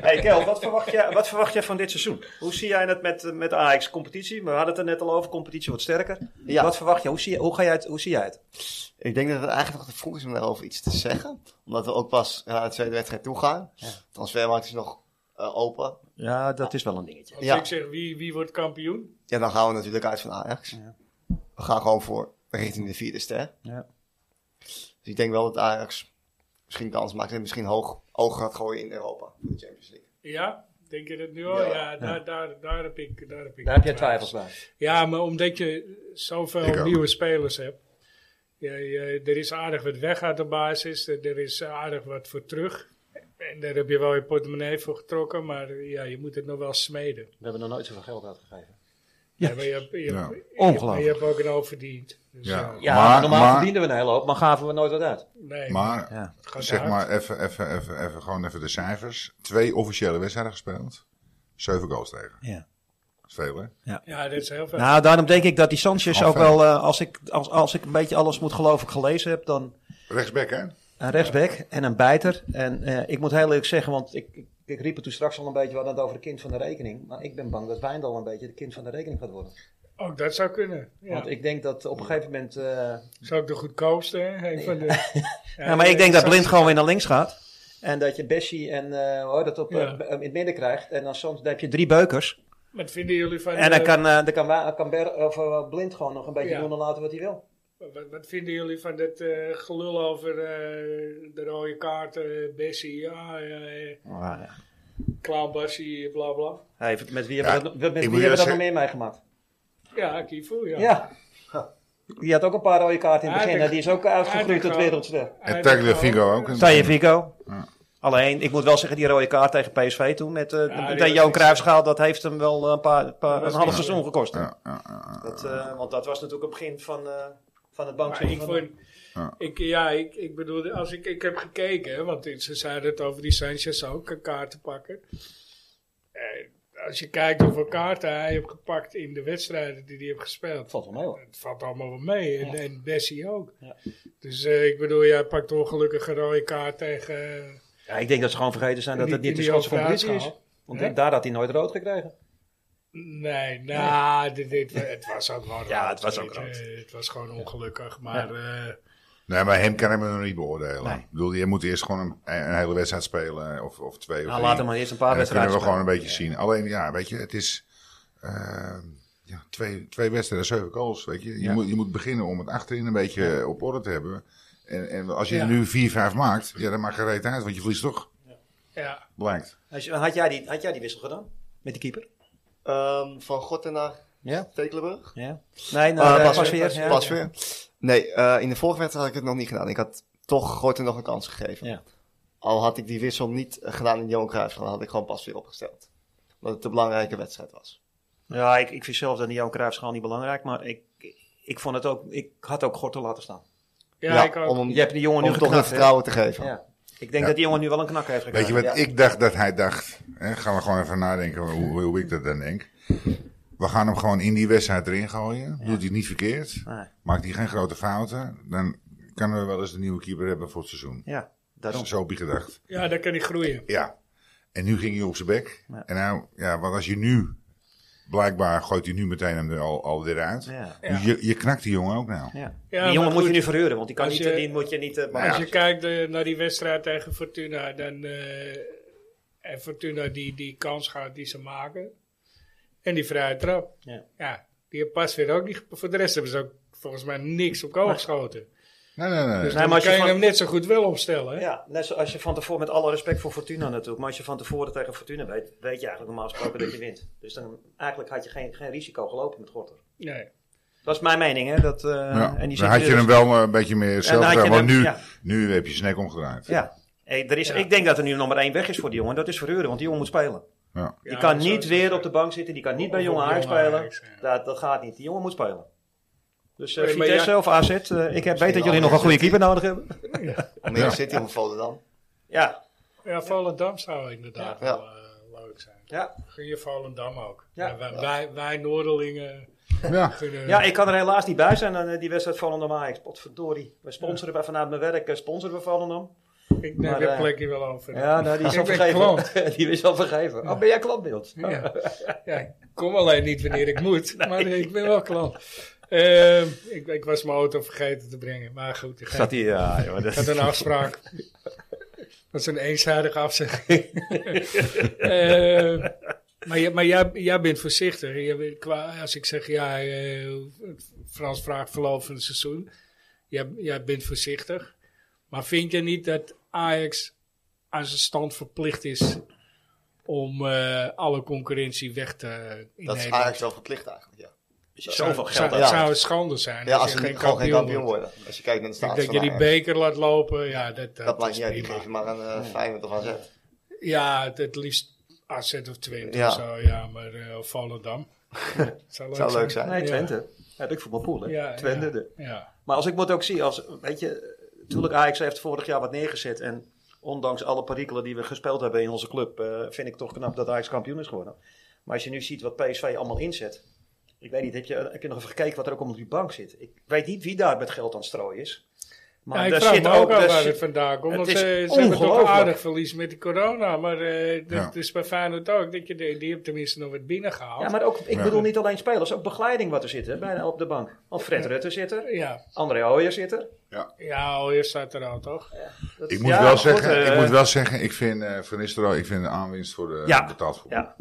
S2: Hey Kel, wat verwacht, jij, wat verwacht jij van dit seizoen? Hoe zie jij het met, eh, met Ajax competitie? We hadden het er net al over, competitie wordt sterker.
S5: Ja.
S2: Wat verwacht jij? Hoe zie, je- hoe, ga jij het, hoe zie jij het?
S5: Ik denk dat het eigenlijk nog te vroeg is om daarover iets te zeggen. Omdat we ook pas ja, naar de tweede wedstrijd toe gaan. Transfermarkt is nog eh, open.
S2: Ja, dat is wel een dingetje.
S1: Als
S5: Ja.
S1: ik zeg wie, wie wordt kampioen,
S5: Ja, dan gaan we natuurlijk uit van Ajax.
S2: Ja.
S5: We gaan gewoon voor richting de vierde ster.
S2: Ja.
S5: Dus ik denk wel dat Ajax misschien kans maakt en misschien hoog oog gaat gooien in Europa voor de Champions League.
S1: ja, denk je dat nu al? Ja,
S5: Ja.
S1: Daar, daar, daar heb ik daar heb ik
S2: Daar heb jij twijfels bij.
S1: Ja, maar omdat je
S3: Ik
S1: zoveel
S3: ook.
S1: nieuwe spelers hebt. Je, je- er is aardig wat weg uit de basis, er, er is aardig wat voor terug. En daar heb je wel je portemonnee voor getrokken, maar eh, ja, je moet het nog wel smeden.
S2: We hebben nog nooit zoveel geld uitgegeven.
S1: Ja. maar je, hebt- je,
S3: Ja.
S1: hebt- je,
S2: Ongelooflijk.
S1: maar je hebt ook een hoop verdiend. Dus,
S3: Ja.
S1: eh,
S2: Ja,
S3: Maar-
S2: maar normaal
S3: maar-
S2: verdienden we een hele hoop, maar gaven we nooit wat uit.
S1: nee,
S3: Maar
S2: Ja.
S1: het gaat
S3: zeg
S1: hard.
S3: maar even, even, even, even, gewoon even de cijfers. Twee officiële wedstrijden gespeeld. Zeven goals tegen.
S2: Ja.
S3: Dat is veel hè?
S1: Ja, dat is heel veel.
S2: Nou, daarom denk ik dat die Sanchez
S3: Gewoon
S2: ook wel, eh, als, ik, als, als ik een beetje alles moet geloven gelezen heb, dan
S3: Rechtsback hè?
S2: Een rechtsback en een bijter. En eh, ik moet heel eerlijk zeggen, want ik, ik, ik riep het toen straks al een beetje, we hadden het over de kind van de rekening. Maar ik ben bang dat Wijndal een beetje de kind van de rekening gaat worden.
S1: Ook dat zou kunnen. Ja.
S2: Want ik denk dat op een gegeven moment... eh,
S1: Zou ik de goedkoopste, hè? Een van de,
S2: <laughs>
S1: ja,
S2: ja, Nou, maar ik denk dat
S1: zou-
S2: Blind gewoon weer naar links gaat. En dat je Bessie en eh, hoor, dat op, eh,
S1: Ja.
S2: b- in het midden krijgt. En dan, soms, dan heb je drie beukers.
S1: Wat vinden jullie van...
S2: En dan
S1: eh,
S2: kan, eh, dan kan, Wa- kan Ber- of, eh, Blind gewoon nog een beetje
S1: Ja.
S2: doen en laten wat hij wil.
S1: Wat, wat vinden jullie van dat eh, gelul over eh, de rode kaarten, eh, Bessie, ja, eh, eh,
S2: Nou,
S1: Clown Bassie, bla bla.
S2: Hey, met wie
S3: Ja,
S2: hebben we dat, met wie
S3: ik
S2: hebben we
S3: moet
S2: dat nog
S3: zeggen-
S2: meer meegemaakt?
S1: Ja, Kivu, ja.
S2: Ja. <laughs> Die had ook een paar rode kaarten in het begin.
S1: Aardig.
S2: En die is ook uitgegroeid tot
S1: Aardig,
S2: wereldster.
S3: En Tagle Figo ook.
S1: Ja,
S3: een-
S2: Tanje Vico.
S3: Ja.
S2: Alleen, ik moet wel zeggen, die rode kaart tegen PSV toen met eh
S1: Ja, die
S2: de, de
S1: was
S2: Johan
S1: niks.
S2: Cruijffschaal, dat heeft hem wel eh, een, paar, een paar-
S1: Dat was
S2: een half
S1: niks.
S2: seizoen gekost. hè?
S3: Ja, ja, ja.
S2: Dat, eh, want dat was natuurlijk het begin van, eh, van het
S1: Maar
S2: bankspel.
S1: ik
S2: van-
S1: vond,
S3: Ja.
S1: ik, ja, ik, ik bedoel, als ik, ik heb gekeken, hè, want ze zeiden het over die Sanchez ook, een kaartenpakker. Eh, als je kijkt hoeveel kaarten hij heeft gepakt in de wedstrijden die hij heeft gespeeld.
S2: Valt wel mee hoor.
S1: Het valt allemaal wel mee. En, en Bessie ook.
S2: Ja.
S1: Dus eh, ik bedoel, jij pakt ongelukkig een rode kaart tegen... eh,
S2: Ja, ik denk dat ze gewoon vergeten zijn dat
S1: die-
S2: het niet de
S1: die
S2: Schotse
S1: overgaat
S2: competitie is.
S1: gehaald.
S2: Want
S1: Hè?
S2: ik- daar had hij nooit rood gekregen.
S1: Nee, nou, <laughs> dit, dit-
S2: <laughs>
S1: het was ook wel
S2: Ja,
S1: rood,
S2: het was
S1: weet
S2: ook
S1: je.
S2: rood.
S1: Het was gewoon ongelukkig, maar... eh,
S3: Nee, maar hem kan ik nog niet beoordelen.
S2: Nee.
S3: Ik bedoel, je moet eerst gewoon een, een hele wedstrijd spelen. Of, of twee of
S2: Nou,
S3: drie.
S2: laat hem maar eerst een paar
S3: En dan kunnen
S2: wedstrijden
S3: we gewoon een
S2: spelen.
S3: beetje zien. Alleen, ja, weet je, het is... eh, ja, twee, twee wedstrijden, zeven goals, weet je. Je, moet, je moet beginnen om het achterin een beetje op orde te hebben. En, en als je
S1: Ja.
S3: er nu vier, vijf maakt, ja, dan maakt gereed uit. Want je verliest toch,
S1: ja,
S3: blijkt.
S2: Als je- Had jij, die, had jij die wissel gedaan? Met de keeper?
S5: Ehm, van Gorten naar
S2: Ja.
S5: Tekelenburg?
S2: ja. Nee,
S5: Eh,
S2: nou,
S5: pas-
S2: pas weer.
S5: pas- pas weer. Nee, eh, in de vorige wedstrijd had ik het nog niet gedaan. Ik had toch Gorten nog een kans gegeven.
S2: Ja.
S5: Al had ik die wissel niet eh, gedaan in Johan Cruijffschaal, had ik gewoon pas weer opgesteld. Omdat het een belangrijke wedstrijd was.
S2: Ja, ik, ik vind zelf dat die Johan Cruijffschaal niet belangrijk, maar ik, ik, vond het ook, ik had ook Gortel laten staan.
S1: ja, ik ook.
S5: om hem,
S2: Je hebt die jongen
S5: om
S2: nu
S5: hem toch het
S2: geknakt, hè?
S5: vertrouwen te geven.
S2: Ja. Ik denk
S3: Ja.
S2: dat die jongen nu wel een knak heeft gekregen.
S3: Weet je wat
S5: Ja.
S3: ik dacht dat hij dacht? Hè? Gaan we gewoon even nadenken hoe, hoe ik dat dan denk. We gaan hem gewoon in die wedstrijd erin gooien.
S2: Ja.
S3: Doet hij het niet verkeerd.
S2: Nee.
S3: Maakt hij geen grote fouten. Dan kunnen we wel eens de nieuwe keeper hebben voor het seizoen.
S2: Ja, daarom.
S3: Zo heb je gedacht.
S1: Ja, daar kan hij groeien.
S3: Ja. En nu ging hij op zijn bek.
S2: Ja.
S3: En nou, ja, want als je nu... Blijkbaar gooit hij nu meteen hem er al, al weer uit.
S2: Ja.
S1: Ja.
S3: Dus je, je knakt die jongen ook nou.
S2: Ja.
S1: Ja,
S2: die
S1: maar
S2: jongen moet je
S1: goed.
S2: nu verhuren, want die, kan
S1: Als
S2: niet,
S1: je-
S2: die moet je niet... eh,
S5: Nou
S1: Als
S2: maar
S1: je kijkt eh, naar die wedstrijd tegen Fortuna, dan eh, en Fortuna die, die kans gaat die ze maken. En die vrije trap.
S2: Ja.
S1: Ja, die heeft pas weer ook niet. gep- Voor de rest hebben ze ook volgens mij niks op kool geschoten.
S3: Nee, nee, nee.
S1: Dus
S2: maar
S1: dan
S2: als je
S1: kan je
S2: van-
S1: hem net zo goed wel opstellen. hè?
S2: Ja, net zoals je van tevoren, met alle respect voor Fortuna natuurlijk, maar als je van tevoren tegen Fortuna weet, weet je eigenlijk normaal gesproken dat je wint. Dus dan eigenlijk had je geen, geen risico gelopen met Gorter.
S1: Nee.
S2: Dat is mijn mening, hè. Dat, eh,
S3: Ja,
S2: en die zit
S3: dan had je
S2: dus-
S3: hem wel eh, een beetje meer zelf
S2: dan had je
S3: gedaan, Want
S2: hem-
S3: nu,
S2: ja.
S3: nu heb je snek omgedraaid.
S2: Ja. Hey, er is,
S1: Ja.
S2: Ik denk dat er nu nummer één weg is voor die jongen. Dat is Verhuren, want die jongen moet spelen.
S3: Ja.
S2: Die
S1: Ja,
S2: kan
S1: dat zou
S2: niet
S1: ik
S2: weer
S1: zeggen.
S2: op de bank zitten. Die kan niet bij
S1: Of
S2: jonge
S1: op
S2: Ajax
S1: jonge
S2: spelen.
S1: Ajax, ja.
S2: Dat, dat gaat niet. Die jongen moet spelen. Dus eh
S1: Nee, maar
S2: Vitesse
S1: ja-
S2: of AZ. eh, ik heb, weet dat jullie
S5: wel
S2: nog een goede keeper nodig hebben.
S5: Almere City of Volendam.
S2: Ja.
S1: Ja, Volendam zou inderdaad
S5: Ja.
S1: wel eh, leuk zijn.
S2: Ja.
S1: Gun je Volendam ook.
S2: Ja.
S1: Ja, wij, wij, wij Noorderlingen
S3: Ja.
S1: kunnen...
S2: ja, ik kan er helaas niet bij zijn aan eh, die wedstrijd Volendam Ajax. Potverdorie. We sponsoren bij, vanuit mijn werk eh, sponsoren we Volendam.
S1: ik neem
S2: maar,
S1: dat
S2: eh,
S1: plekje wel over.
S2: Ja, nou, die is
S1: Ik
S2: al
S1: ben
S2: vergeven. <laughs> die is al vergeven. Oh, ben jij klant bij ons?
S1: <laughs> Ja. ja, ik kom alleen niet wanneer ik moet, maar ik ben wel klant. Ehm, ik, ik was mijn auto vergeten te brengen, maar goed. Ik
S2: Zat
S1: had,
S2: hij? Ja, joh, dat-
S1: ik had een afspraak. Dat is een eenzijdige afzegging. Ehm, maar jij- maar jij, jij bent voorzichtig. Je bent qua, als ik zeg, ja, eh, Frans vraagt verloop van het seizoen. Jij, jij bent voorzichtig. Maar vind je niet dat Ajax aan zijn stand verplicht is om eh, alle concurrentie weg te in
S5: Dat is
S1: Nederland?
S5: Ajax wel verplicht eigenlijk, ja.
S2: Als je Zoveel
S1: zou,
S2: geld
S1: zou,
S5: ja.
S1: zou een schande zijn
S5: Ja,
S1: als
S5: als
S1: je
S5: ze
S1: geen
S5: niet-
S1: kampioen,
S5: gewoon geen kampioen
S1: wordt.
S5: worden. Als je kijkt naar de
S1: Ik denk
S5: status
S1: dat je
S5: van
S1: die
S5: Ajax.
S1: beker laat lopen. Ja, dat, dat,
S5: Dat maakt
S1: is
S5: niet uit, die
S1: prima.
S5: geef je maar aan eh Feyenoord of AZ.
S1: Ja, het, het liefst AZ of Twente
S5: Ja.
S1: of zo. Ja, maar eh, of
S2: <laughs>
S1: Volendam. zou leuk
S5: Zou leuk
S2: zijn.
S5: zijn.
S2: Nee, Twente. Heb ik voor mijn poel, hè.
S1: Ja, ja.
S2: Twente. de-
S1: Ja,
S2: Maar als ik moet ook zie, als, weet je, natuurlijk Ajax heeft vorig jaar wat neergezet. En ondanks alle perikelen die we gespeeld hebben in onze club, eh, vind ik toch knap dat Ajax kampioen is geworden. Maar als je nu ziet wat PSV allemaal inzet. Ik weet niet, heb je, heb je nog even gekeken wat er ook om die bank zit? Ik weet niet wie daar met geld aan het strooien is. Maar
S1: ja ik
S2: daar
S1: vraag me ook
S2: daar
S1: af waar
S2: zit-
S1: het vandaan komt.
S2: Het
S1: Want
S2: is
S1: eh, ze hebben toch een
S2: ongelooflijk.
S1: aardig verlies met die corona. Maar eh, dat
S3: Ja.
S1: is bij Feyenoord ook. Dat je, die, die hebt tenminste nog wat binnengehaald.
S2: ja, maar ook, ik
S3: Ja.
S2: bedoel niet alleen spelers, ook begeleiding wat er zit hè, bijna op de bank. Want Fred Rutte zit er,
S1: Ja,
S2: André Hoyer zit er.
S1: ja Ooyer staat er al, toch?
S2: Dat-
S3: Ik moet,
S2: ja,
S3: wel
S2: goed,
S3: zeggen,
S2: eh,
S3: ik moet wel zeggen, ik vind eh, Van Nistelrooy, ik vind een aanwinst voor de
S2: Ja.
S3: betaald voetbal.
S2: Ja,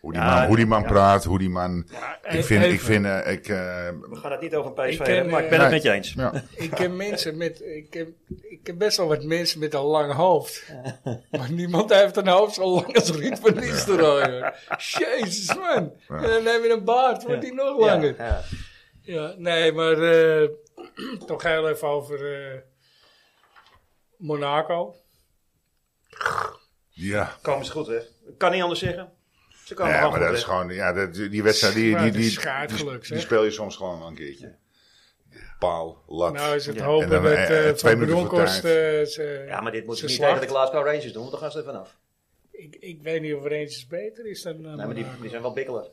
S3: Hoe die
S2: Ja,
S3: man, hoe die man
S2: ja.
S3: praat, hoe die man...
S1: e-
S3: ik vind, ik
S1: even.
S3: vind, eh, ik... eh,
S2: we gaan het niet over PSV
S1: Ik ken,
S2: hebben, maar ik ben
S3: eh,
S2: het met je eens.
S3: ja.
S1: Ik ken mensen met. Ik ken, ik ken best wel wat mensen met een lang
S2: <laughs>
S1: hoofd. Maar niemand heeft een hoofd zo lang als Ruud van Nistelrooy. hoor. Jezus man.
S3: Ja.
S1: En dan heb je een baard, wordt die nog langer.
S2: Ja,
S1: Ja,
S2: ja.
S1: nee, maar. eh, <clears throat> toch heel even over. eh, Monaco.
S3: ja.
S2: Komen ze goed weg. Kan niet anders zeggen. Ze komen
S3: Ja,
S2: gewoon
S3: maar
S2: goed
S3: dat is
S2: weg.
S3: gewoon... Ja, dat, die wedstrijd, die,
S1: Maar
S3: die,
S1: het is
S3: die,
S1: schaartgeluk,
S3: die,
S1: zeg.
S3: die speel je soms gewoon wel een keertje. Paal, lat.
S1: Nou is het
S2: Ja.
S1: hopen
S3: En dan,
S1: dat
S3: eh,
S1: eh,
S3: eh,
S1: Van
S3: twee minuten voor
S1: Bronckhorst... eh, ze-
S2: Ja, maar dit moeten
S1: ze
S2: ze niet
S1: slacht.
S2: tegen de Glasgow Rangers doen, want dan gaan ze er vanaf.
S1: ik, ik weet niet of er eentje beter is dan eh,
S2: Nee, maar die,
S1: Monaco.
S2: die zijn wel bikkeler.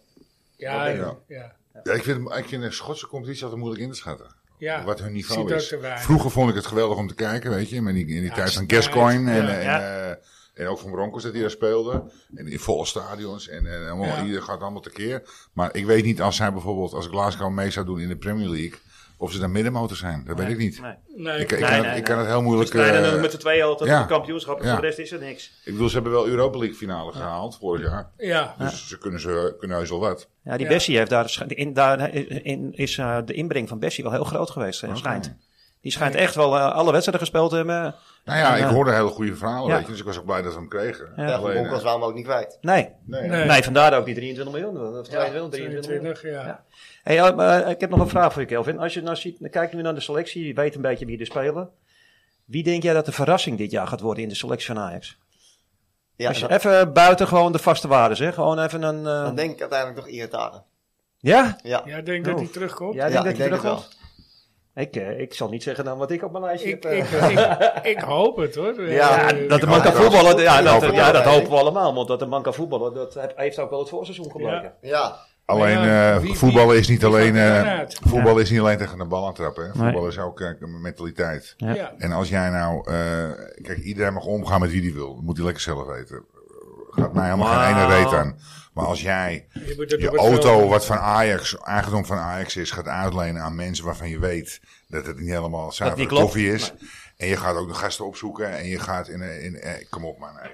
S1: ja,
S2: wel
S1: ja,
S3: beter.
S1: ja.
S3: Ja, ik, vind, ik vind de Schotse competitie altijd moeilijk in te schatten.
S1: Ja,
S3: wat hun niveau
S1: ziet ook
S3: is.
S1: te weinig.
S3: Vroeger vond ik het geweldig om te kijken, weet je. Maar die, in die tijd van
S1: snijdt.
S3: Gascoigne en,
S1: Ja,
S3: en,
S2: ja.
S3: eh, en ook van Broncos dat hij daar speelde. En in volle stadions. En, en helemaal,
S1: Ja.
S3: ieder gaat allemaal tekeer. Maar ik weet niet als zij bijvoorbeeld, als Glasgow mee zou doen in de Premier League, of ze dan middenmotor zijn. Dat weet ik niet.
S2: Nee.
S1: Nee,
S3: Ik, ik,
S2: Nee,
S3: kan,
S2: nee,
S3: het- ik
S2: nee.
S3: kan het heel moeilijk...
S2: Ze rijden
S3: eh,
S2: dan met de twee al tot
S3: ja.
S2: het kampioenschap en
S3: Ja.
S2: voor de rest is er niks.
S3: ik bedoel, ze hebben wel Europa League finale gehaald vorig jaar.
S1: ja.
S3: Dus ze kunnen, ze kunnen heus wel wat.
S2: Ja, die
S1: Ja.
S2: Bessie heeft daar, scha- in, daar in, is eh, de inbreng van Bessie wel heel groot geweest, eh, schijnt. Die schijnt echt wel eh, alle wedstrijden gespeeld te hebben.
S3: Nou ja,
S2: En,
S3: ik
S2: eh,
S3: hoorde hele goede verhalen,
S2: ja.
S3: weet je. Dus ik was ook blij dat we hem kregen.
S5: Ja, voor
S3: Alleen, eh,
S5: Bonkels waren we ook niet kwijt.
S2: Nee.
S3: nee.
S1: Nee.
S2: nee, vandaar ook die 23 miljoen. Of 22, 23 miljoen.
S1: 22, ja.
S2: Ja. Hey, eh, maar ik heb nog een vraag voor je, Kelvin. Als je nou ziet, dan kijkt nu naar de selectie, je weet een beetje wie er spelen. Wie denk jij dat de verrassing dit jaar gaat worden in de selectie van Ajax?
S5: Ja,
S2: Als je
S5: dan,
S2: even buiten gewoon de vaste waarden, hè? Gewoon even een. eh,
S5: dan denk ik uiteindelijk toch Iataren.
S2: ja?
S5: Ja,
S1: Jij denkt dat hij terugkomt?
S2: Jij
S5: Ja,
S2: denkt dat
S5: ik denk
S2: hij
S5: het wel.
S2: terugkomt? Ik, eh, ik zal niet zeggen dan wat ik op mijn lijstje
S1: Ik,
S2: heb. eh.
S1: ik, ik, ik hoop het
S2: <laughs>
S1: hoor.
S5: Ja,
S1: Eh,
S2: dat de man
S3: Ik hoop
S2: kan
S3: het wel.
S2: voetballen, ja,
S3: Ik
S2: dat,
S3: hoop het
S2: ja,
S5: wel.
S2: eh, dat hopen we allemaal. Want dat de man kan voetballen, dat heb- heeft ook wel het voorseizoen gebleken.
S5: Ja,
S3: Alleen
S1: Maar ja,
S3: eh,
S1: wie-
S3: voetballen
S1: wie-
S3: is niet
S1: wie
S3: alleen
S1: gaat er
S3: eh,
S1: vanuit?
S3: voetballen is niet alleen tegen de bal aantrappen. Hè.
S4: Nee.
S3: Voetbal is ook eh, een mentaliteit.
S4: Ja.
S1: Ja.
S3: En als jij nou, eh, kijk, iedereen mag omgaan met wie die wil. Dat moet hij lekker zelf weten. Gaat mij helemaal geen ene reet aan. Maar als jij
S1: Je, moet het
S3: je
S1: op het veld
S3: auto,
S1: doen.
S3: wat van Ajax, aangedrongen van Ajax is, gaat uitlenen aan mensen waarvan je weet dat het niet helemaal zuivere
S2: niet klopt.
S3: koffie is. En je gaat ook de gasten opzoeken en je gaat in, eh, in eh, kom op man. eh.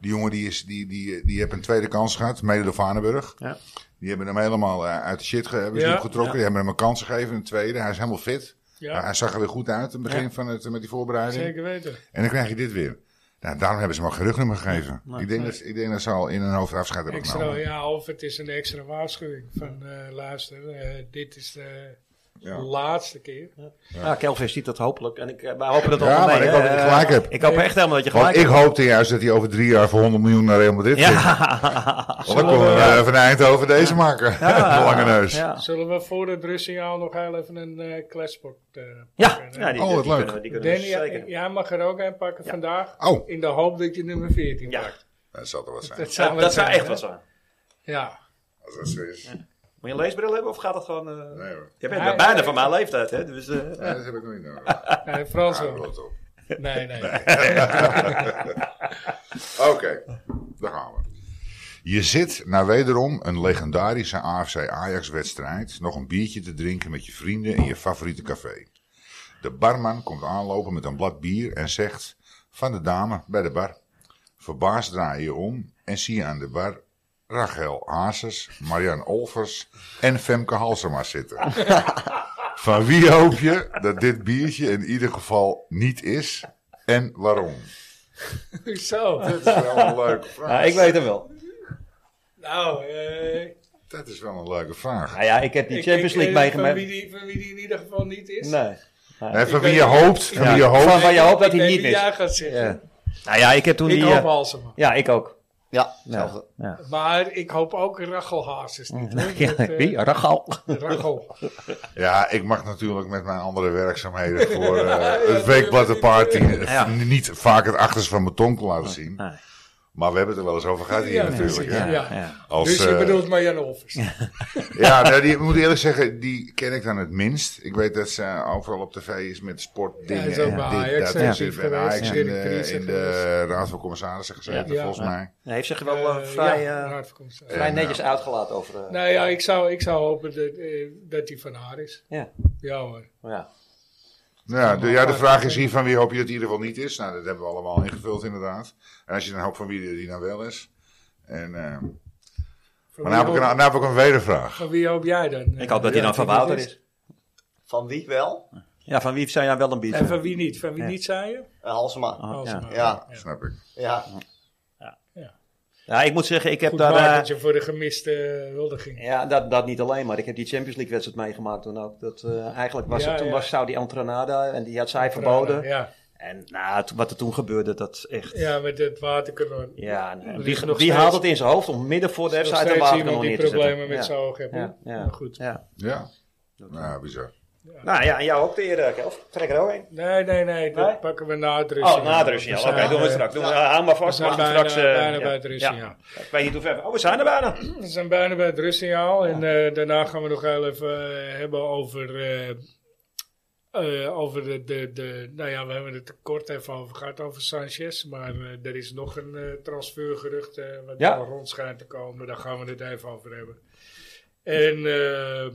S3: Die jongen die, is, die, die, die heeft een tweede kans gehad, mede door Vaneburg.
S4: Ja.
S3: Die hebben hem helemaal eh, uit de shit ge- hebben ze
S1: Ja.
S3: hem getrokken. Die hebben hem een kans gegeven, een tweede. Hij is helemaal fit.
S1: Ja.
S3: Hij- Hij zag er weer goed uit, in het begin van het, met die voorbereiding.
S1: Zeker weten.
S3: En dan krijg je dit weer. Nou, daarom hebben ze hem al geen rugnummer gegeven. ik, denk dat, ik denk dat ze al in hun hoofd afscheid hebben
S1: Extra,
S3: genomen.
S1: ja, of het is een extra waarschuwing van eh, luister, eh, dit is de
S3: Ja.
S1: laatste keer.
S2: Ja, Nou, Kelvin ziet dat hopelijk. En ik, eh, wij hopen dat
S3: Ja,
S2: allemaal
S3: maar
S2: mee.
S3: ik
S2: hè.
S3: hoop dat je
S2: Eh,
S3: gelijk hebt.
S2: Ik hoop echt helemaal dat je gelijk
S3: Want ik
S2: hebt.
S3: hoopte juist dat hij over drie jaar voor 100 miljoen naar Real Madrid ging.
S4: Ja.
S2: <laughs>
S3: Want dan konden we eh, van Eindhoven deze maken. <laughs> De lange neus.
S4: Ja.
S1: Zullen we voor het rustsignaal nog heel even een eh kletspot eh,
S4: Ja.
S1: pakken, hè?
S2: Ja, die,
S3: Oh, wat
S2: die
S3: leuk.
S2: Kunnen, we- die kunnen we
S1: Danny, eh,
S2: zeker.
S1: jij- jij mag er ook een pakken vandaag.
S3: Oh.
S1: In de hoop dat je nummer 14
S2: Ja.
S1: maakt.
S3: Dat zal er wat zijn.
S1: Dat zou,
S2: dat
S1: wat
S2: zou
S1: zijn,
S2: echt
S1: hè?
S2: wat zijn.
S1: Ja.
S3: Als dat zo is.
S2: Moet je een leesbril hebben of gaat dat gewoon... eh,
S3: Nee hoor.
S2: Je bent
S1: Hij-
S2: bijna van mijn leeftijd, hè? Dus,
S4: <laughs>
S2: eh,
S3: Nee, dat heb ik nog niet nodig.
S1: Nee, Frans
S3: Ah,
S1: wel.
S3: rot op.
S1: Nee, nee.
S3: Oké, daar gaan we. Je zit na wederom een legendarische AFC Ajax-wedstrijd nog een biertje te drinken met je vrienden in je favoriete café. De barman komt aanlopen met een blad bier en zegt van de dame bij de bar. Verbaasd draai je om en zie je aan de bar Rachel Hazes, Marianne Olvers en Femke Halsema <laughs> zitten. Van wie hoop je dat dit biertje in ieder geval niet is en waarom?
S2: <laughs>
S1: Zo.
S3: Dat is wel een leuke vraag.
S4: ik weet het wel.
S1: Nou, eh,
S3: Dat is wel een leuke vraag.
S4: Nou ja, ik heb die
S1: ik-
S4: Champions
S1: ik-
S4: League
S1: eh,
S4: meegemaakt.
S1: Van wie, die, van wie die in ieder geval niet is.
S4: Nee.
S3: Hè, van
S1: Ik
S3: wie
S1: weet-
S3: je hoopt, van
S4: Ja.
S3: wie je
S4: Van-
S3: hoopt.
S4: waar je hoopt dat
S1: Ik
S4: hij
S1: weet
S4: niet
S1: wie
S4: is.
S1: jij gaat zitten.
S4: Nou ja, ik heb toen
S1: Ik
S4: die...
S1: hoop
S4: eh,
S1: Halsema.
S4: ja, ik ook.
S2: <laughs>
S5: Ja,
S4: Ja.
S5: hetzelfde.
S4: Ja.
S1: Maar ik hoop ook Rachel Hazes niet. hoor.
S4: Mm, <laughs> Ja,
S1: Dat, eh,
S4: Wie?
S2: <laughs>
S4: Rachel.
S1: Rachel.
S3: Ja, ik mag natuurlijk met mijn andere
S1: <laughs>
S3: werkzaamheden voor eh, het weekblad de party eh, <laughs>
S4: Ja.
S3: niet vaak het achterste van mijn tong laten zien.
S4: Nee.
S3: Maar we hebben het er wel eens over gehad hier
S1: Ja,
S3: natuurlijk.
S1: precies,
S3: hè.
S1: ja.
S4: Ja.
S3: Als,
S1: dus je
S3: eh,
S1: bedoelt Marianne Offers.
S3: <laughs> Ja, nou, die, ik moet eerlijk zeggen, die ken ik dan het minst. Ik weet dat ze eh, overal op tv is met sportdingen.
S1: Ja, is ook
S3: en
S1: bij
S3: dit,
S1: Ajax
S3: dat, en
S1: actief
S3: zit bij
S1: geweest,
S3: Ajax in de,
S1: directrice
S3: in de
S1: geweest.
S3: Raad van Commissarissen gezeten,
S1: Ja.
S3: volgens mij.
S2: nee, heeft zich wel eh,
S1: Eh,
S2: vrij,
S1: ja,
S2: eh,
S1: raad van commissaris.
S2: vrij
S3: En,
S2: netjes uitgelaten over... eh,
S1: Nou ja, ik zou, ik zou hopen dat, eh, dat die van haar is.
S4: Ja.
S1: Ja hoor.
S4: Ja.
S3: Ja de, ja, de vraag is hier van wie hoop je dat in ieder geval niet is. Nou, dat hebben we allemaal ingevuld inderdaad. En als je dan hoopt van wie die, die nou wel is. En, eh,
S1: Van
S3: maar
S1: wie
S3: nou heb, ik
S1: hoop-
S3: een, nou heb ik een wedervraag.
S1: Van wie hoop jij dan?
S4: Ik hoop dat hij dan van Wouter is.
S5: Van wie wel?
S4: Ja, van wie zijn jij wel een biertje?
S1: En van wie niet? Van wie
S4: Ja.
S1: niet, zei je?
S5: Eh,
S2: Ah.
S5: Halsema.
S4: Oh, ja.
S1: Halsema.
S5: Ja,
S1: Ja.
S3: Snap ik.
S5: ja.
S4: ja, ik moet zeggen, ik heb
S1: Goed
S4: daar... eh,
S1: makertje voor de gemiste eh, huldiging.
S4: Ja, dat, dat niet alleen, maar ik heb die Champions League wedstrijd meegemaakt toen ook. Dat, eh, eigenlijk was
S1: Ja,
S4: het, toen
S1: ja.
S4: was Saudi Antranada en die had zij verboden.
S1: Ja,
S4: En nou, to- wat er toen gebeurde, dat is echt... Ja,
S1: ja met het waterkanon.
S4: nee,
S1: Er
S4: wie,
S1: is nog
S4: wie
S1: steeds-
S4: haalt het in zijn hoofd om midden voor de
S1: Er is nog
S4: wedstrijd een
S1: steeds iemand
S4: waterkanon
S1: die
S4: neer te zetten?
S1: problemen met zijn oog heeft.
S4: Ja,
S1: hè?
S4: ja.
S1: Maar goed.
S4: Ja.
S3: Ja. Ja, bizar.
S4: Nou ja, en jou ook de eer, eh, Kelf. Trek er ook een.
S1: Nee, nee, nee. Dat
S4: Nee?
S1: pakken we na het
S4: Oh,
S1: rustsignaal.
S4: na de Russie.
S1: We
S4: Oké,
S1: zijn,
S4: doen we
S1: eh,
S4: straks. Doen we, hou maar
S1: We
S4: vast.
S1: zijn
S4: we gaan
S1: bijna,
S4: straks, eh,
S1: bijna
S4: ja.
S1: bij het rustsignaal.
S4: Ja. Ik weet niet hoe ver. Oh, we zijn er bijna.
S1: We zijn bijna bij het rustsignaal. En eh, daarna gaan we nog heel even eh, hebben over... eh, eh, over de, de, de, nou ja, we hebben het er kort even over gehad, over Sanchez. Maar eh, er is nog een eh, transfergerucht eh, wat
S4: Ja.
S1: al rond schijnt te komen. Daar gaan we het even over hebben. En eh,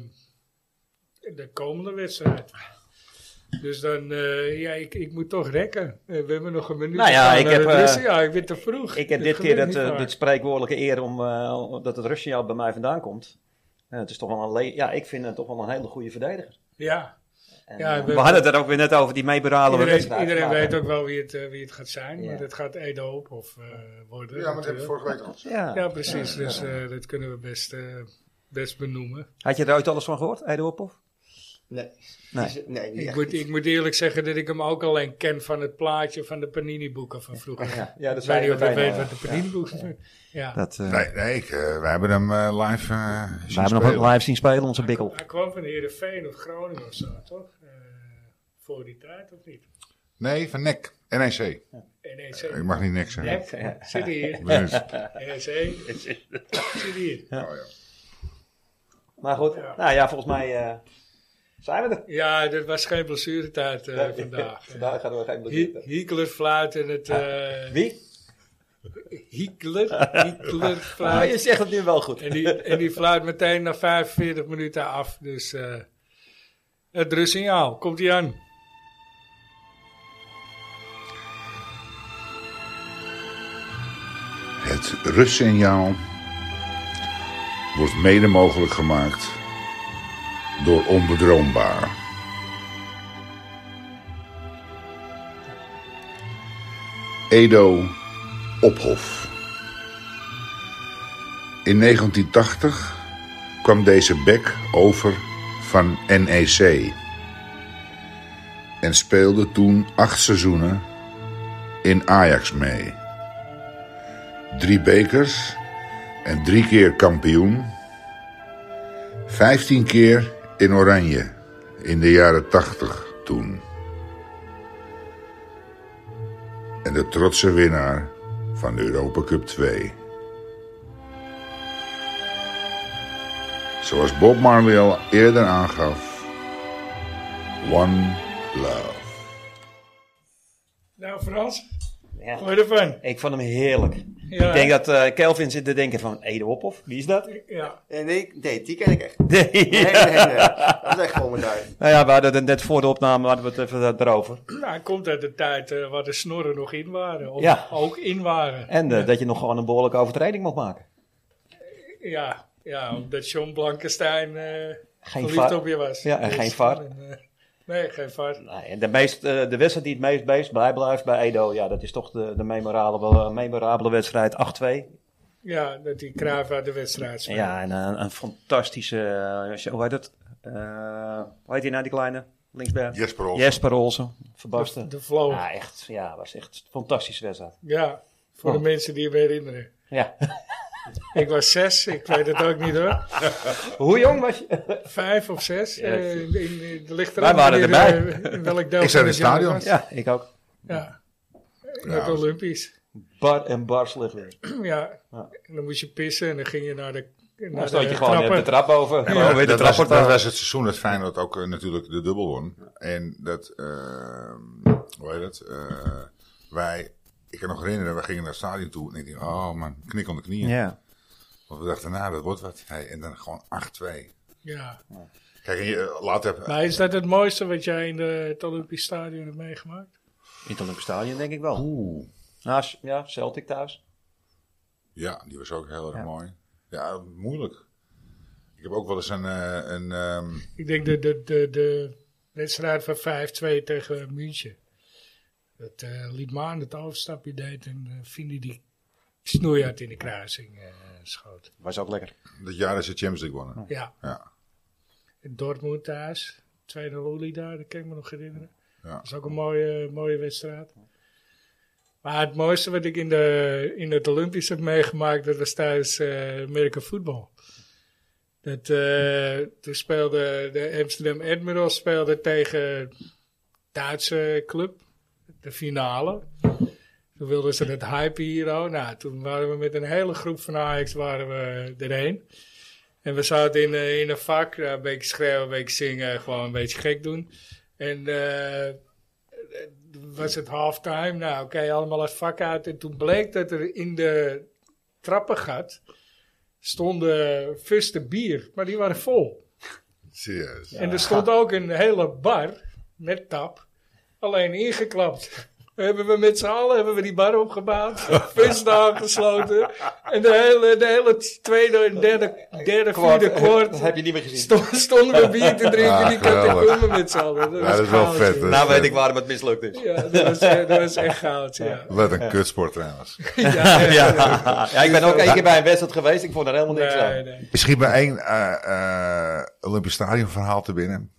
S1: de komende wedstrijd. Dus dan, eh, ja, ik, ik moet toch rekken. Eh, we hebben nog een minuut.
S4: Nou
S1: te
S4: ja,
S1: gaan
S4: ik
S1: naar
S4: heb,
S1: het
S4: eh,
S1: rusten. ja, ik ben te vroeg.
S4: Ik heb
S1: Het
S4: dit keer
S1: gebeurt
S4: dat,
S1: niet
S4: eh,
S1: vaak.
S4: dat spreekwoordelijke eer om, eh, dat het Russiaal bij mij vandaan komt. Eh, het is toch wel een le- ja, ik vind het toch wel een hele goede verdediger.
S1: Ja,
S4: En,
S1: Ja,
S4: eh,
S1: we-
S4: we, hadden het er ook weer net over, die meeberalen
S1: iedereen,
S4: wedstrijd.
S1: iedereen
S4: Maar,
S1: weet ook wel wie het, eh, wie het gaat zijn.
S4: Ja.
S1: Maar het gaat Edo op of eh, worden.
S3: Ja, maar dat heb ik
S1: natuurlijk.
S3: vorige week al gezegd.
S4: Ja.
S1: Ja, precies. Dus eh, dat kunnen we best, eh, best benoemen.
S4: Had je er ooit alles van gehoord, Edo Ophoff?
S5: Nee.
S4: Nee.
S5: Die is- nee die
S1: Ik
S5: echt
S1: moet, ik moet eerlijk zeggen dat ik hem ook alleen ken van het plaatje van de Panini-boeken van vroeger.
S4: Ja, ja, dat
S1: ik weet
S4: zei
S1: niet
S4: je
S1: of je
S4: meteen
S1: weet
S4: al,
S1: wat de Panini-boeken zijn. Ja.
S4: Dat, eh,
S3: Nee, nee ik, eh, wij hebben hem eh, live eh zien
S4: we hebben nog
S3: spelen.
S4: live zien spelen, onze bikkel.
S1: Hij kwam van Heerenveen of Groningen of zo, toch? Eh, voor die tijd, of niet?
S3: Nee, van NEC. NEC.
S1: NEC.
S3: Ik mag niet NEC zeggen.
S1: Nek, zit hier.
S4: <laughs>
S3: Ik ben het.
S1: NEC. Zit hier.
S3: Oh, ja.
S2: Maar goed,
S1: Ja.
S2: nou ja, volgens mij eh, zijn we er.
S1: Ja, dat was geen blessuretijd eh, vandaag.
S2: vandaag gaan we geen
S1: Hi-
S2: blessure.
S1: Hiekler fluit en het... eh
S2: Wie? <laughs>
S1: Hiekler? Hiekler
S2: Ah, je
S1: fluit.
S2: zegt het nu wel goed.
S1: En die, en die fluit meteen na 45 minuten af. Dus eh het rustsignaal. Komt hij aan.
S3: Het rustsignaal wordt mede mogelijk gemaakt door onbedroombaar. Edo Ophof. In 1980 kwam deze bek over van NEC en speelde toen acht seizoenen in Ajax mee drie bekers en drie keer kampioen. Vijftien keer in oranje in de jaren tachtig toen. En de trotse winnaar van de Europa Cup 2. Zoals Bob Marley al eerder aangaf, One Love.
S1: Nou Frans,
S2: Ja.
S1: hoor je ervan?
S2: Ik vond hem heerlijk.
S1: Ja.
S2: Ik denk dat eh, Kelvin zit te denken van, Ede Hophoff, wie is <laughs> dat?
S1: Ja.
S5: Nee, nee, nee, die ken ik echt.
S2: Nee.
S5: Nee, nee, nee. Dat is echt gewoon mijn duim.
S2: Nou ja, we hadden het net voor de opname, hadden we het even eh, daar- daarover.
S1: Nou, het komt uit de tijd eh, waar de snorren nog in waren. Of
S2: Ja.
S1: ook in waren.
S2: En eh, dat je nog gewoon een behoorlijke overtreding mag maken.
S1: Ja, ja omdat John Blankenstein eh
S2: Geen
S1: verliefd
S2: var.
S1: op je was.
S2: Ja, en geen var.
S1: en, eh, nee, geen var.
S2: Nou, en de, meest, eh, de wedstrijd die het meest beest bij blijft bij Edo, ja, dat is toch de, de memorabele, eh, memorabele wedstrijd 8-2.
S1: Ja, dat die Cruijff uit de wedstrijd
S2: En
S1: speelde.
S2: Ja, en eh, een, een fantastische, eh, hoe heet dat? Eh, hoe heet die nou, die kleine linksberg?
S3: Jesper Olsen.
S2: Jesper Olsen, verbasten.
S1: De flow.
S2: Ja, echt, ja, was echt een fantastische wedstrijd.
S1: Ja, voor de
S2: Oh.
S1: mensen die me herinneren.
S2: Ja.
S1: Ik was zes, ik weet het ook niet hoor.
S2: Hoe jong was je?
S1: Vijf of zes. eh, in, in, het ligt
S2: Wij
S1: eraan
S2: waren
S1: wanneer,
S2: erbij.
S1: eh, in welk deel
S3: Ik zat in
S1: van het jaar
S3: het stadion.
S1: was.
S2: Ja, ik ook.
S1: Ja, in
S3: Ja.
S1: het Olympisch. <clears throat>
S2: Bar en bar slecht weer.
S1: Ja.
S2: Ja.
S1: en dan moest je pissen en dan ging je naar de naar
S2: Dan
S1: de
S2: stond je gewoon op de
S1: Nou, eh, trappen.
S2: trap boven. Gewoon weer de
S3: dat,
S2: trap
S3: was,
S2: op.
S3: dat was het seizoen dat Feyenoord ook eh, natuurlijk de dubbel won. En dat, eh, hoe heet het, eh, wij, ik kan nog herinneren, we gingen naar het stadion toe en ik dacht, oh man, knik onder knieën.
S2: Ja.
S3: Want we dachten, nou, dat wordt wat. Hey, en dan gewoon 8-2.
S1: Ja.
S3: Kijk, en je, eh, later heb
S1: Maar is dat het mooiste wat jij in de, het Olympisch Stadion hebt meegemaakt?
S2: In het Olympisch Stadion denk ik wel.
S3: Oeh.
S2: Nou, s- ja, Celtic thuis.
S3: Ja, die was ook heel erg
S2: Ja.
S3: mooi. Ja, moeilijk. Ik heb ook wel eens een, eh, een ehm,
S1: Ik denk de, de, de, de wedstrijd van 5-2 tegen München. Dat eh Liedmaan het overstapje deed en eh Vindi die snoeihard in de kruising eh, schoot.
S2: Was ook lekker.
S3: dat jaar dat ze Champions League wonnen.
S1: Ja.
S3: Ja.
S1: In Dortmund thuis. Tweede Loli daar, dat kan ik me nog herinneren.
S3: Ja.
S1: Dat is ook een mooie, mooie wedstrijd. Maar het mooiste wat ik in, de, in het Olympisch heb meegemaakt, dat was tijdens eh Amerika voetbal. Dat, eh, toen speelde de Amsterdam Admirals speelde tegen Duitse club, de finale. Toen wilden ze het hype hero. Nou, toen waren we met een hele groep van Ajax waren we erheen. En we zaten in, eh, in een vak, daar een beetje schreeuwen, een beetje zingen, gewoon een beetje gek doen. En eh, was het halftime, nou oké, allemaal het vak uit. En toen bleek dat er in de trappengat stonden fusten bier, maar die waren vol.
S3: Serieus.
S1: En er stond ook een hele bar met tap, alleen ingeklapt. <laughs> Hebben we met z'n allen hebben we die bar opgebouwd, fusten aangesloten. En de hele, de hele tweede en derde, derde vierde
S2: Dat
S1: kwart
S2: heb je niet meer gezien.
S1: Sto- stonden we bier te drinken in die
S3: Ah, geweldig.
S1: catacomben met z'n allen.
S3: Ja,
S1: was
S3: dat is wel
S1: goud,
S3: vet,
S1: joh.
S3: hè?
S2: Nou weet ik waarom het mislukt is.
S1: Ja, dat was, eh, dat was echt goud, ja.
S3: Wat een kutsport
S1: <laughs>
S3: trouwens.
S1: Ja, ja.
S2: <laughs> Ja. ja, ik ben ook één keer bij een wedstrijd geweest. Ik vond er helemaal niks aan.
S1: Nee, nee.
S3: Misschien maar één eh, eh, Olympisch Stadion verhaal te binnen.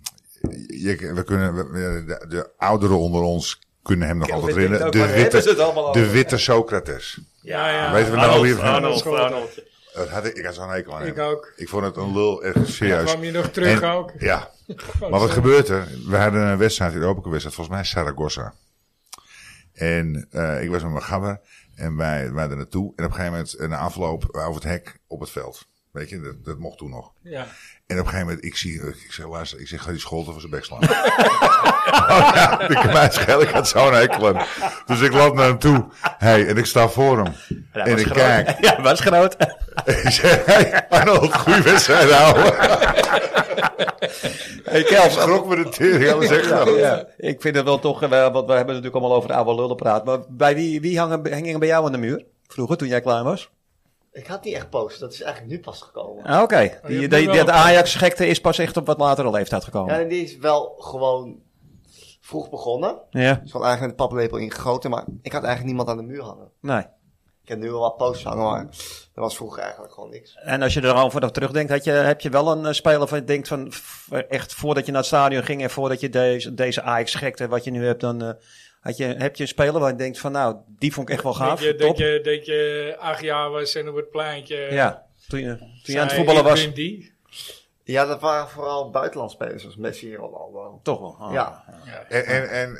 S3: Je- we kunnen, we- we- de, de ouderen onder ons kunnen hem nog
S2: Kelvin
S3: altijd
S2: denkt
S3: herinneren.
S2: ook,
S3: De
S2: waar hebben ze het allemaal
S3: witte,
S2: over?
S3: de witte Socrates.
S1: Ja, ja.
S3: Weten we nou
S6: Arnold,
S3: weer van?
S6: Arnold,
S1: Schotel.
S6: Arnold.
S3: Dat had ik, ik had zo'n hekel aan
S1: Ik
S3: hem.
S1: ook.
S3: Ik vond het een lul, echt serieus.
S1: kwam je nog terug
S3: En-
S1: ook.
S3: Ja.
S1: Oh,
S3: Maar wat gebeurt er? We hadden een wedstrijd, een Europa Cup wedstrijd, volgens mij Saragossa. En eh, ik was met mijn gabber en wij waren er naartoe. En op een gegeven moment, eh, na afloop, eh, over het hek op het veld. Weet je, dat, dat mocht toen nog.
S1: Ja.
S3: En op een gegeven moment, ik zie, eh, ik zeg, luister, ik zeg, ga die scholten van zijn bek slaan. <laughs> oh ja, de kmeis ik had zo'n hekel aan. Dus ik loop naar hem toe. Hey, en ik sta voor hem. en ik kijk.
S2: <laughs> Ja, was groot.
S3: <laughs> ik zeg, hey, Arnold, goede wedstrijd houden.
S2: <laughs> hey, Kelvin,
S3: Schrok me de tering, alles echt
S2: Ja,
S3: wel.
S2: ja. Ik vind het wel toch, eh, want we hebben het natuurlijk allemaal over de oude lullen praat. Maar bij wie, wie hangen, hingen bij jou aan de muur? Vroeger, toen jij klein was?
S5: Ik had niet echt post, dat is eigenlijk nu pas gekomen.
S2: Ah, oké. Die,
S1: hebt
S2: die,
S1: nu wel
S2: dat
S1: een-
S2: Ajax-gekte is pas echt op wat latere leeftijd
S5: Ja,
S2: gekomen.
S5: en die is wel gewoon vroeg begonnen.
S2: Ja,
S5: Dus gewoon eigenlijk een paplepel ingegoten, maar ik had eigenlijk niemand aan de muur hangen.
S2: nee.
S5: Ik heb nu wel wat posters hangen, maar dat was vroeger eigenlijk gewoon niks.
S2: En als je er al vanaf terugdenkt, had je, heb je wel een eh, speler van je denkt van f- echt voordat je naar het stadion ging en voordat je deze, deze Ajax-gekte wat je nu hebt, dan eh, had je, heb je een speler waar je denkt van nou, die vond ik echt wel gaaf.
S1: dat, je,
S2: top.
S1: dat, je, dat je acht jaar was en op het pleintje.
S2: ja, toen je, toen
S1: zei,
S2: je aan het voetballen
S1: "Ik
S2: was.
S1: ben die."
S5: Ja, dat waren vooral buitenlandspelers, zoals Messi en Ronaldo.
S2: Toch wel. ah.
S5: Ja,
S3: En, en, en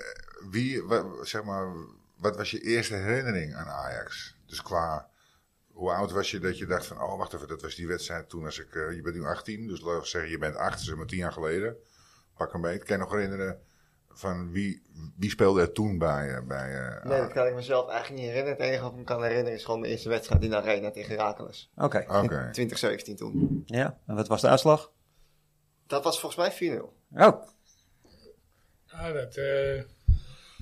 S3: wie, wa- zeg maar, wat was je eerste herinnering aan Ajax? Dus qua, hoe oud was je dat je dacht van, oh wacht even, dat was die wedstrijd toen als ik, eh, je bent nu 18, dus laten we zeggen je bent 8, zeg maar 10 jaar geleden. Pak een beetje. Kan je nog herinneren van wie, wie speelde er toen bij, eh, bij eh,
S5: nee, dat
S3: Ajax?
S5: kan ik mezelf eigenlijk niet herinneren. Het enige wat ik me kan herinneren is gewoon de eerste wedstrijd in de Arena tegen Heracles.
S2: Oké.
S3: Oké.
S5: In 2017 toen.
S2: Ja, en wat was de uitslag?
S5: Dat was volgens mij 4-0.
S2: Oh,
S1: Ja, dat eh,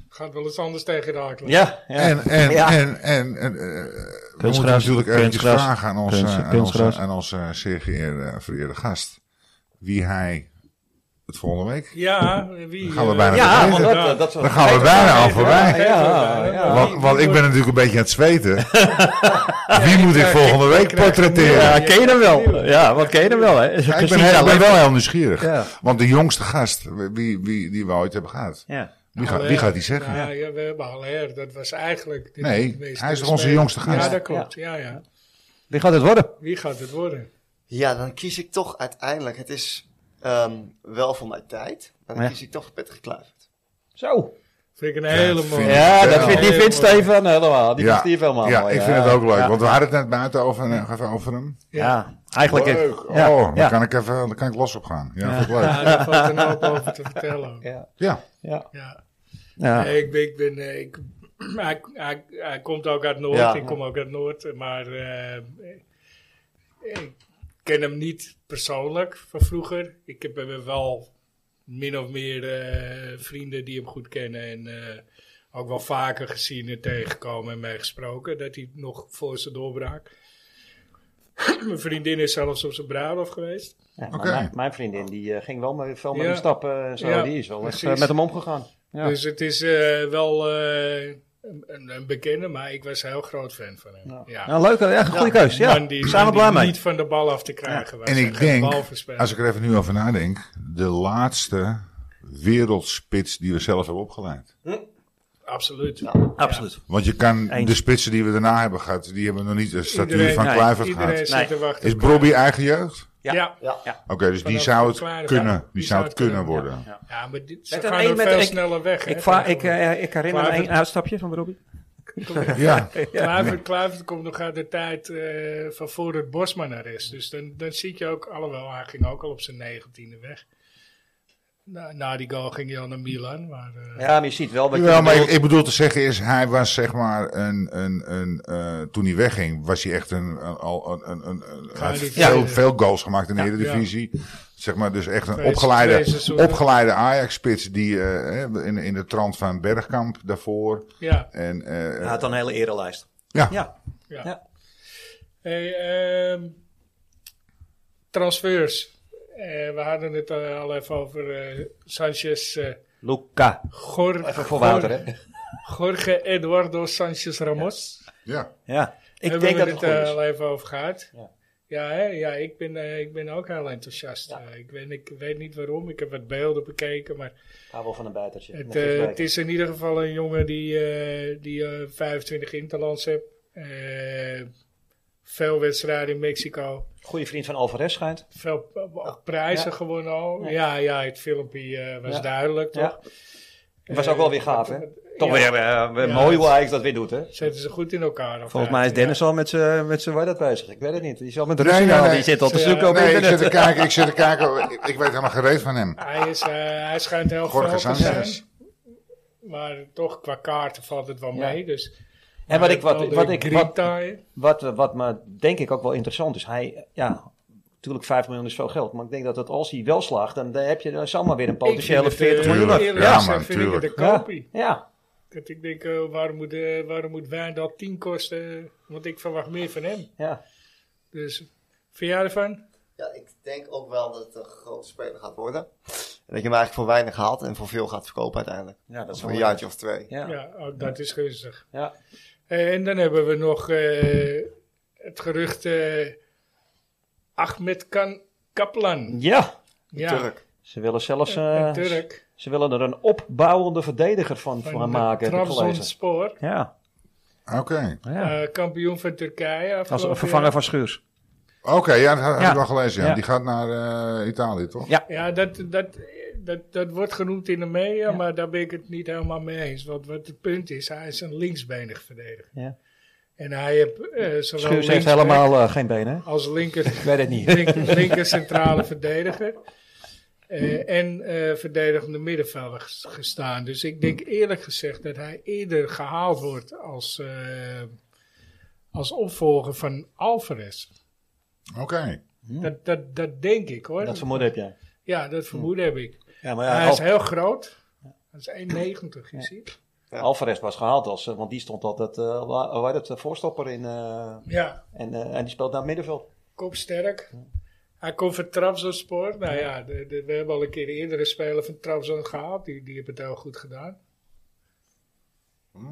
S1: gaat wel eens anders tegen de Akelen.
S2: ja. ja.
S3: En, en,
S2: Ja.
S3: en, en, en, eh, we moeten
S7: Kunstgras,
S3: natuurlijk eventjes
S7: kunstgras,
S3: vragen aan onze,
S7: kunst-
S3: aan
S7: kunstgras.
S3: onze, aan onze zeer geëerde, vereerde gast. Wie hij het volgende week.
S1: Ja, wie?
S3: Gaan we
S1: eh,
S3: bijna
S2: Ja,
S3: vergeten.
S2: want
S1: Ja.
S2: dat, dat
S3: Dan gaan we bijna al voorbij.
S1: Ja,
S2: Ja,
S1: ja,
S2: ja.
S3: Want, want ik ben natuurlijk een beetje aan het zweten. Wie moet ik volgende week portretteren?
S2: Ja, ken je hem wel? Ja, wat ken je hem wel, hè?
S3: Ja, ik, ben,
S2: Precies,
S3: heel- ik ben
S2: alleen-
S3: wel heel nieuwsgierig.
S2: Ja.
S3: Want de jongste gast wie, wie, die we ooit hebben gehad,
S2: Ja.
S3: wie,
S1: Haller.
S3: gaat, wie gaat die zeggen?
S1: Nou, ja, we hebben Haller, dat was eigenlijk... de
S3: Nee,
S1: meest
S3: hij is
S1: gespeelde.
S3: onze jongste gast.
S1: Ja, dat klopt. Ja, ja.
S2: Wie gaat het worden?
S1: Wie gaat het worden?
S5: Ja, dan kies ik toch uiteindelijk. Het is ehm, wel voor mijn tijd, maar dan
S2: Ja.
S5: kies ik toch voor Patrick Kluivert.
S2: Zo.
S1: Vind ik een
S3: Ja,
S1: hele mooie.
S3: vind ik
S2: Ja, dat
S3: wel.
S2: vindt, die vindt Stefan helemaal. Die
S3: Ja.
S2: vindt Steve helemaal.
S3: ja,
S2: mooi,
S3: ik vind het ook leuk. Want we hadden het net buiten over, eh, even over hem.
S2: Ja, eigenlijk.
S3: Leuk.
S2: Ja,
S3: oh, daar
S2: ja.
S3: kan ik even daar kan ik los op gaan. Ja, Vind ik leuk.
S1: Ja, daar valt een hoop over te vertellen. ook.
S2: Ja.
S3: Ja.
S2: Ja.
S1: Ja.
S2: Ja.
S1: Nee, ik ben, ik ben eh, ik, <clears throat> hij, hij, hij komt ook uit Noord,
S5: Ja.
S1: ik kom ook uit Noord, maar eh, ik ken hem niet persoonlijk van vroeger. Ik heb hem wel min of meer eh, vrienden die hem goed kennen en eh, ook wel vaker gezien en tegengekomen en meegesproken, dat hij nog voor zijn doorbraak. <clears throat> Mijn vriendin is zelfs op zijn bruiloft geweest.
S2: Ja, maar
S3: Oké.
S2: mijn, mijn vriendin die eh, ging wel met, veel met
S1: Ja.
S2: hem stappen en zo.
S1: Ja,
S2: die is wel echt,
S1: precies.
S2: eh, met hem omgegaan. Ja.
S1: Dus het is eh, wel eh, een, een bekende, maar ik was een heel groot fan van hem. Ja.
S2: Nou, leuk, ja, goede keus. Ja.
S1: man die,
S2: Zijn we
S1: die
S2: blij mee.
S1: niet van de bal af te krijgen was.
S3: En
S1: Hij
S3: ik
S1: geen
S3: denk,
S1: bal verspelen.
S3: als ik er even nu over nadenk, de laatste wereldspits die we zelf hebben opgeleid.
S1: Absoluut.
S2: Absoluut.
S3: Want je kan
S2: Eens.
S3: de spitsen die we daarna hebben gehad, die hebben nog niet de statuur
S1: Iedereen-
S3: van
S2: nee,
S3: Kluivert
S1: Iedereen
S3: gehad.
S1: zit
S2: Nee.
S1: te wachten.
S3: Is Bobby eigen jeugd?
S1: Ja. Ja.
S5: Ja,
S3: Oké, dus die
S1: Vanaf
S3: zou het
S1: Kleine-
S3: kunnen,
S1: ja,
S3: die zou het kunnen worden.
S2: Ja.
S1: maar dit, ze
S2: Met een
S1: gaan
S2: één
S1: er
S2: met
S1: veel
S2: een-
S1: sneller weg. hè,
S2: Ik, va- ik,
S1: tegenwoordig.
S2: eh, ik herinner me
S1: Kluivert.
S2: één uitstapje van Robbie.
S3: Ja,
S1: Kluivert, Kluivert komt nog uit de tijd eh, van voor het Bosman er is. Dus dan, dan zie je ook, alhoewel hij ging ook al op zijn negentiende weg. Na, na die goal ging hij al naar Milan. Maar, eh,
S2: Ja, maar je ziet wel. wat je
S3: Jawel, maar ik,
S2: bedoelt.
S3: ik bedoel te zeggen is, hij was zeg maar een, een, een eh, toen hij wegging, was hij echt een, een, al een, een, een- een- hij had
S1: die
S3: veel,
S1: tweede.
S3: veel goals gemaakt in de Eredivisie. Zeg maar, dus echt een
S1: Twee- twee
S3: opgeleide,
S1: seizoenen.
S3: opgeleide Ajax-spits die eh, hè, in, in de trant van Bergkamp daarvoor.
S1: ja.
S3: En, eh,
S2: Hij had dan een hele erelijst.
S3: ja,
S2: Ja.
S1: Ja.
S2: Ja.
S1: Hey, ehm, transfers. Eh, we hadden het eh, al even over eh, Sanchez. eh
S2: Luca.
S1: Gor-
S2: Even voor Wouter, hè?
S1: Jorge Eduardo Sanchez Ramos.
S3: ja.
S2: Ja. Ik
S1: Hebben
S2: denk
S1: we
S2: dat het
S1: het
S2: goed
S1: eh,
S2: is.
S1: al even over gehad. Ja,
S2: Ja.
S1: hè? ja ik, ben, eh, ik ben ook heel enthousiast. Eh, ik, weet, ik weet niet waarom. Ik heb wat beelden bekeken. Maar
S2: Ik hou wel van een buitertje.
S1: Het,
S2: Moet je
S1: eh,
S2: eens
S1: het is in ieder geval een jongen die, eh, die eh, 25 interlands heeft. Eh, veel wedstrijden in Mexico.
S2: kijken. Goede vriend van Alvarez schijnt.
S1: Veel p- p- prijzen
S2: Ja.
S1: gewonnen al.
S2: Ja.
S1: Ja, ja, het filmpje eh, was
S2: Ja.
S1: duidelijk, toch?
S2: Dat was ook wel weer gaaf, hè? Toch
S1: Ja.
S2: weer eh, weer
S1: Ja,
S2: mooi hoe
S1: het-
S2: Ajax dat weer doet, hè?
S1: Zetten ze goed in elkaar. of
S2: Volgens
S1: ja,
S2: mij is Dennis
S1: ja.
S2: al met zijn met z'n- waar dat bezig. Ik weet het niet. Die is al met
S3: Nee,
S2: Russen.
S3: nee, nee.
S2: Die zit al te
S1: Ja.
S2: zoeken op
S3: Nee, ik zit
S2: internet.
S3: te kijken, ik zit te kijken. Ik, ik weet helemaal geen reet van hem.
S1: Hij, is, eh, hij schijnt heel
S3: Jorge
S1: veel te zijn.
S3: Sanchez.
S1: Maar toch, qua kaarten valt het wel
S2: Ja.
S1: mee. Dus,
S2: En wat ik,
S1: Wel
S2: wat,
S1: de
S2: wat, ik, wat,
S1: Grita in.
S2: wat, wat maar denk ik ook wel interessant is. Hij, ja, natuurlijk 5 miljoen is veel geld. Maar ik denk dat, dat als hij wel slaagt, dan dan heb je dan zomaar weer een potentiële
S1: Ik vind het,
S2: 40
S1: eh,
S2: miljoen.
S3: Tuurlijk.
S1: eerlijk
S3: Ja,
S1: gezegd
S3: man,
S1: vind ik het een
S3: tuurlijk.
S2: Ja,
S1: kopie.
S2: ja.
S1: Dat ik denk, eh, waarom, moet, eh, waarom moet Wijndal 10 kosten? Want ik verwacht meer van hem.
S2: ja.
S1: Dus vind jij ervan?
S5: Ja, ik denk ook wel dat het een grote speler gaat worden. En dat je hem eigenlijk voor weinig haalt en voor veel gaat verkopen uiteindelijk.
S2: Ja, dat
S5: Dat
S2: is
S5: voor een
S2: wel-
S5: jaartje of twee.
S1: Ja,
S2: Ja.
S1: ook dat is gunstig.
S2: Ja.
S1: Eh, en dan hebben we nog eh, het gerucht eh, Ahmed Kan Kaplan.
S2: ja,
S1: Ja,
S5: Turk.
S2: ze willen zelfs
S1: Een
S2: eh,
S1: Turk.
S2: ze willen er een opbouwende verdediger van, van,
S1: Van
S2: maken. heb ik gelezen.
S1: Trabzonspor.
S2: Ja,
S3: Oké.
S2: ja.
S1: Eh, kampioen van Turkije.
S2: als
S1: afgelopen
S2: een vervanger
S1: jaar.
S2: van Schuurs.
S3: Oké, ja, dat heb
S2: Ja.
S3: ik wel gelezen. Ja.
S2: Ja.
S3: Die gaat naar eh, Italië, toch?
S2: Ja.
S1: Ja, dat, dat, dat, dat wordt genoemd in de media, maar daar ben ik het niet helemaal mee eens. Want wat het punt is, hij is een linksbenig verdediger.
S2: Ja.
S1: En hij heeft eh zowel
S2: Schuurs heeft
S1: linksback
S2: helemaal eh, geen benen. hè?
S1: als linker,
S2: Ik weet het
S1: <laughs>
S2: niet.
S1: linker, linker centrale verdediger. eh, en eh verdedigende middenvelder ges- gestaan. Dus ik denk eerlijk gezegd dat hij eerder gehaald wordt als, eh, als opvolger van Alvarez.
S3: Oké.
S1: Dat, dat, dat denk ik hoor.
S2: Hm. Dat vermoeden heb jij.
S1: ja, dat vermoeden heb ik.
S2: Ja, maar
S1: hij
S2: ja,
S1: is
S2: Al-
S1: heel groot. Hij is 1,90 is hij.
S2: Alvarez was gehaald als, eh, want die stond altijd, eh la- hoe heet het, eh, voorstopper in. eh,
S1: Ja,
S2: en, eh, en die speelt naar het middenveld. Hm.
S1: kopsterk. Hij komt van Trabzonspor. Nou ja, de, de- we hebben al een keer eerdere speler van Trabzon gehaald. Die, die hebben het heel goed gedaan.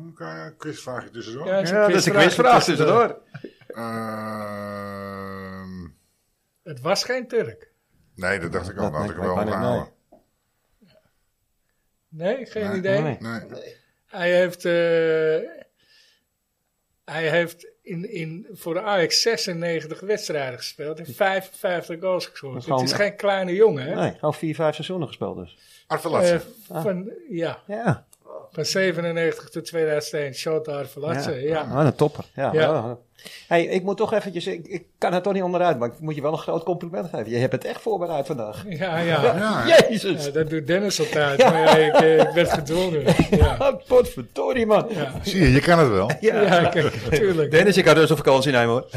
S3: Oké, quizvraagje tussendoor.
S1: Ja,
S2: tussendoor.
S3: Ehm,
S1: Het was geen Turk.
S3: nee, dat dacht ik al.
S2: Dat
S3: Dat had ik
S2: lijkt
S3: er
S2: mij
S3: wel
S2: bijna
S3: onthouden.
S1: Nee, geen
S3: Nee.
S1: idee.
S2: Nee.
S3: Nee.
S1: Hij heeft, eh, hij heeft in, in, voor de Ajax 96 wedstrijden gespeeld en 55 goals
S2: Dat
S1: gescoord.
S2: is
S1: Het is
S2: gewoon-
S1: geen kleine jongen, hè?
S2: Nee, gewoon vier, vijf seizoenen gespeeld dus.
S3: Arvelatse.
S1: Eh, van,
S2: Ah.
S1: ja,
S2: Ja,
S1: van 97 tot 2001, Shota Arvelatse, ja.
S2: Ah, wat een topper. Ja.
S1: Ja.
S2: ja. Hey, ik moet toch eventjes, ik, ik kan er toch niet onderuit, maar ik moet je wel een groot compliment geven. Je hebt het echt voorbereid vandaag.
S1: Eh, Ja, ja.
S3: ja, ja.
S2: Jezus!
S1: Ja, dat doet Dennis altijd, maar ja, ik, eh, ik werd gedwongen. Ja,
S2: Ah, Potverdorie man.
S1: ja.
S3: Zie je, je kan het wel.
S1: ja. kijk, tuurlijk.
S2: Dennis, ik had dus een vakantie nemen hoor.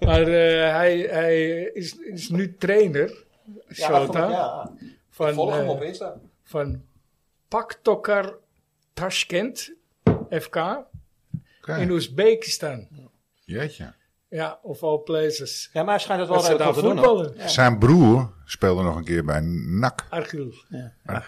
S1: Maar eh, hij, hij is, is nu trainer, Shota,
S2: Ja,
S1: van,
S2: volg hem
S1: eh,
S2: op Insta.
S1: van Paktokar Tashkent, FK,
S3: Oké.
S1: in Oezbekistan.
S3: Jeetje.
S1: Ja, of all places.
S2: Ja, maar hij schijnt het wel
S1: Dat ze
S2: redelijk
S1: daar
S2: goed te doen. hoor.
S1: voetballen.
S3: Zijn broer speelde nog een keer bij NAC.
S1: Argil.
S2: Ja,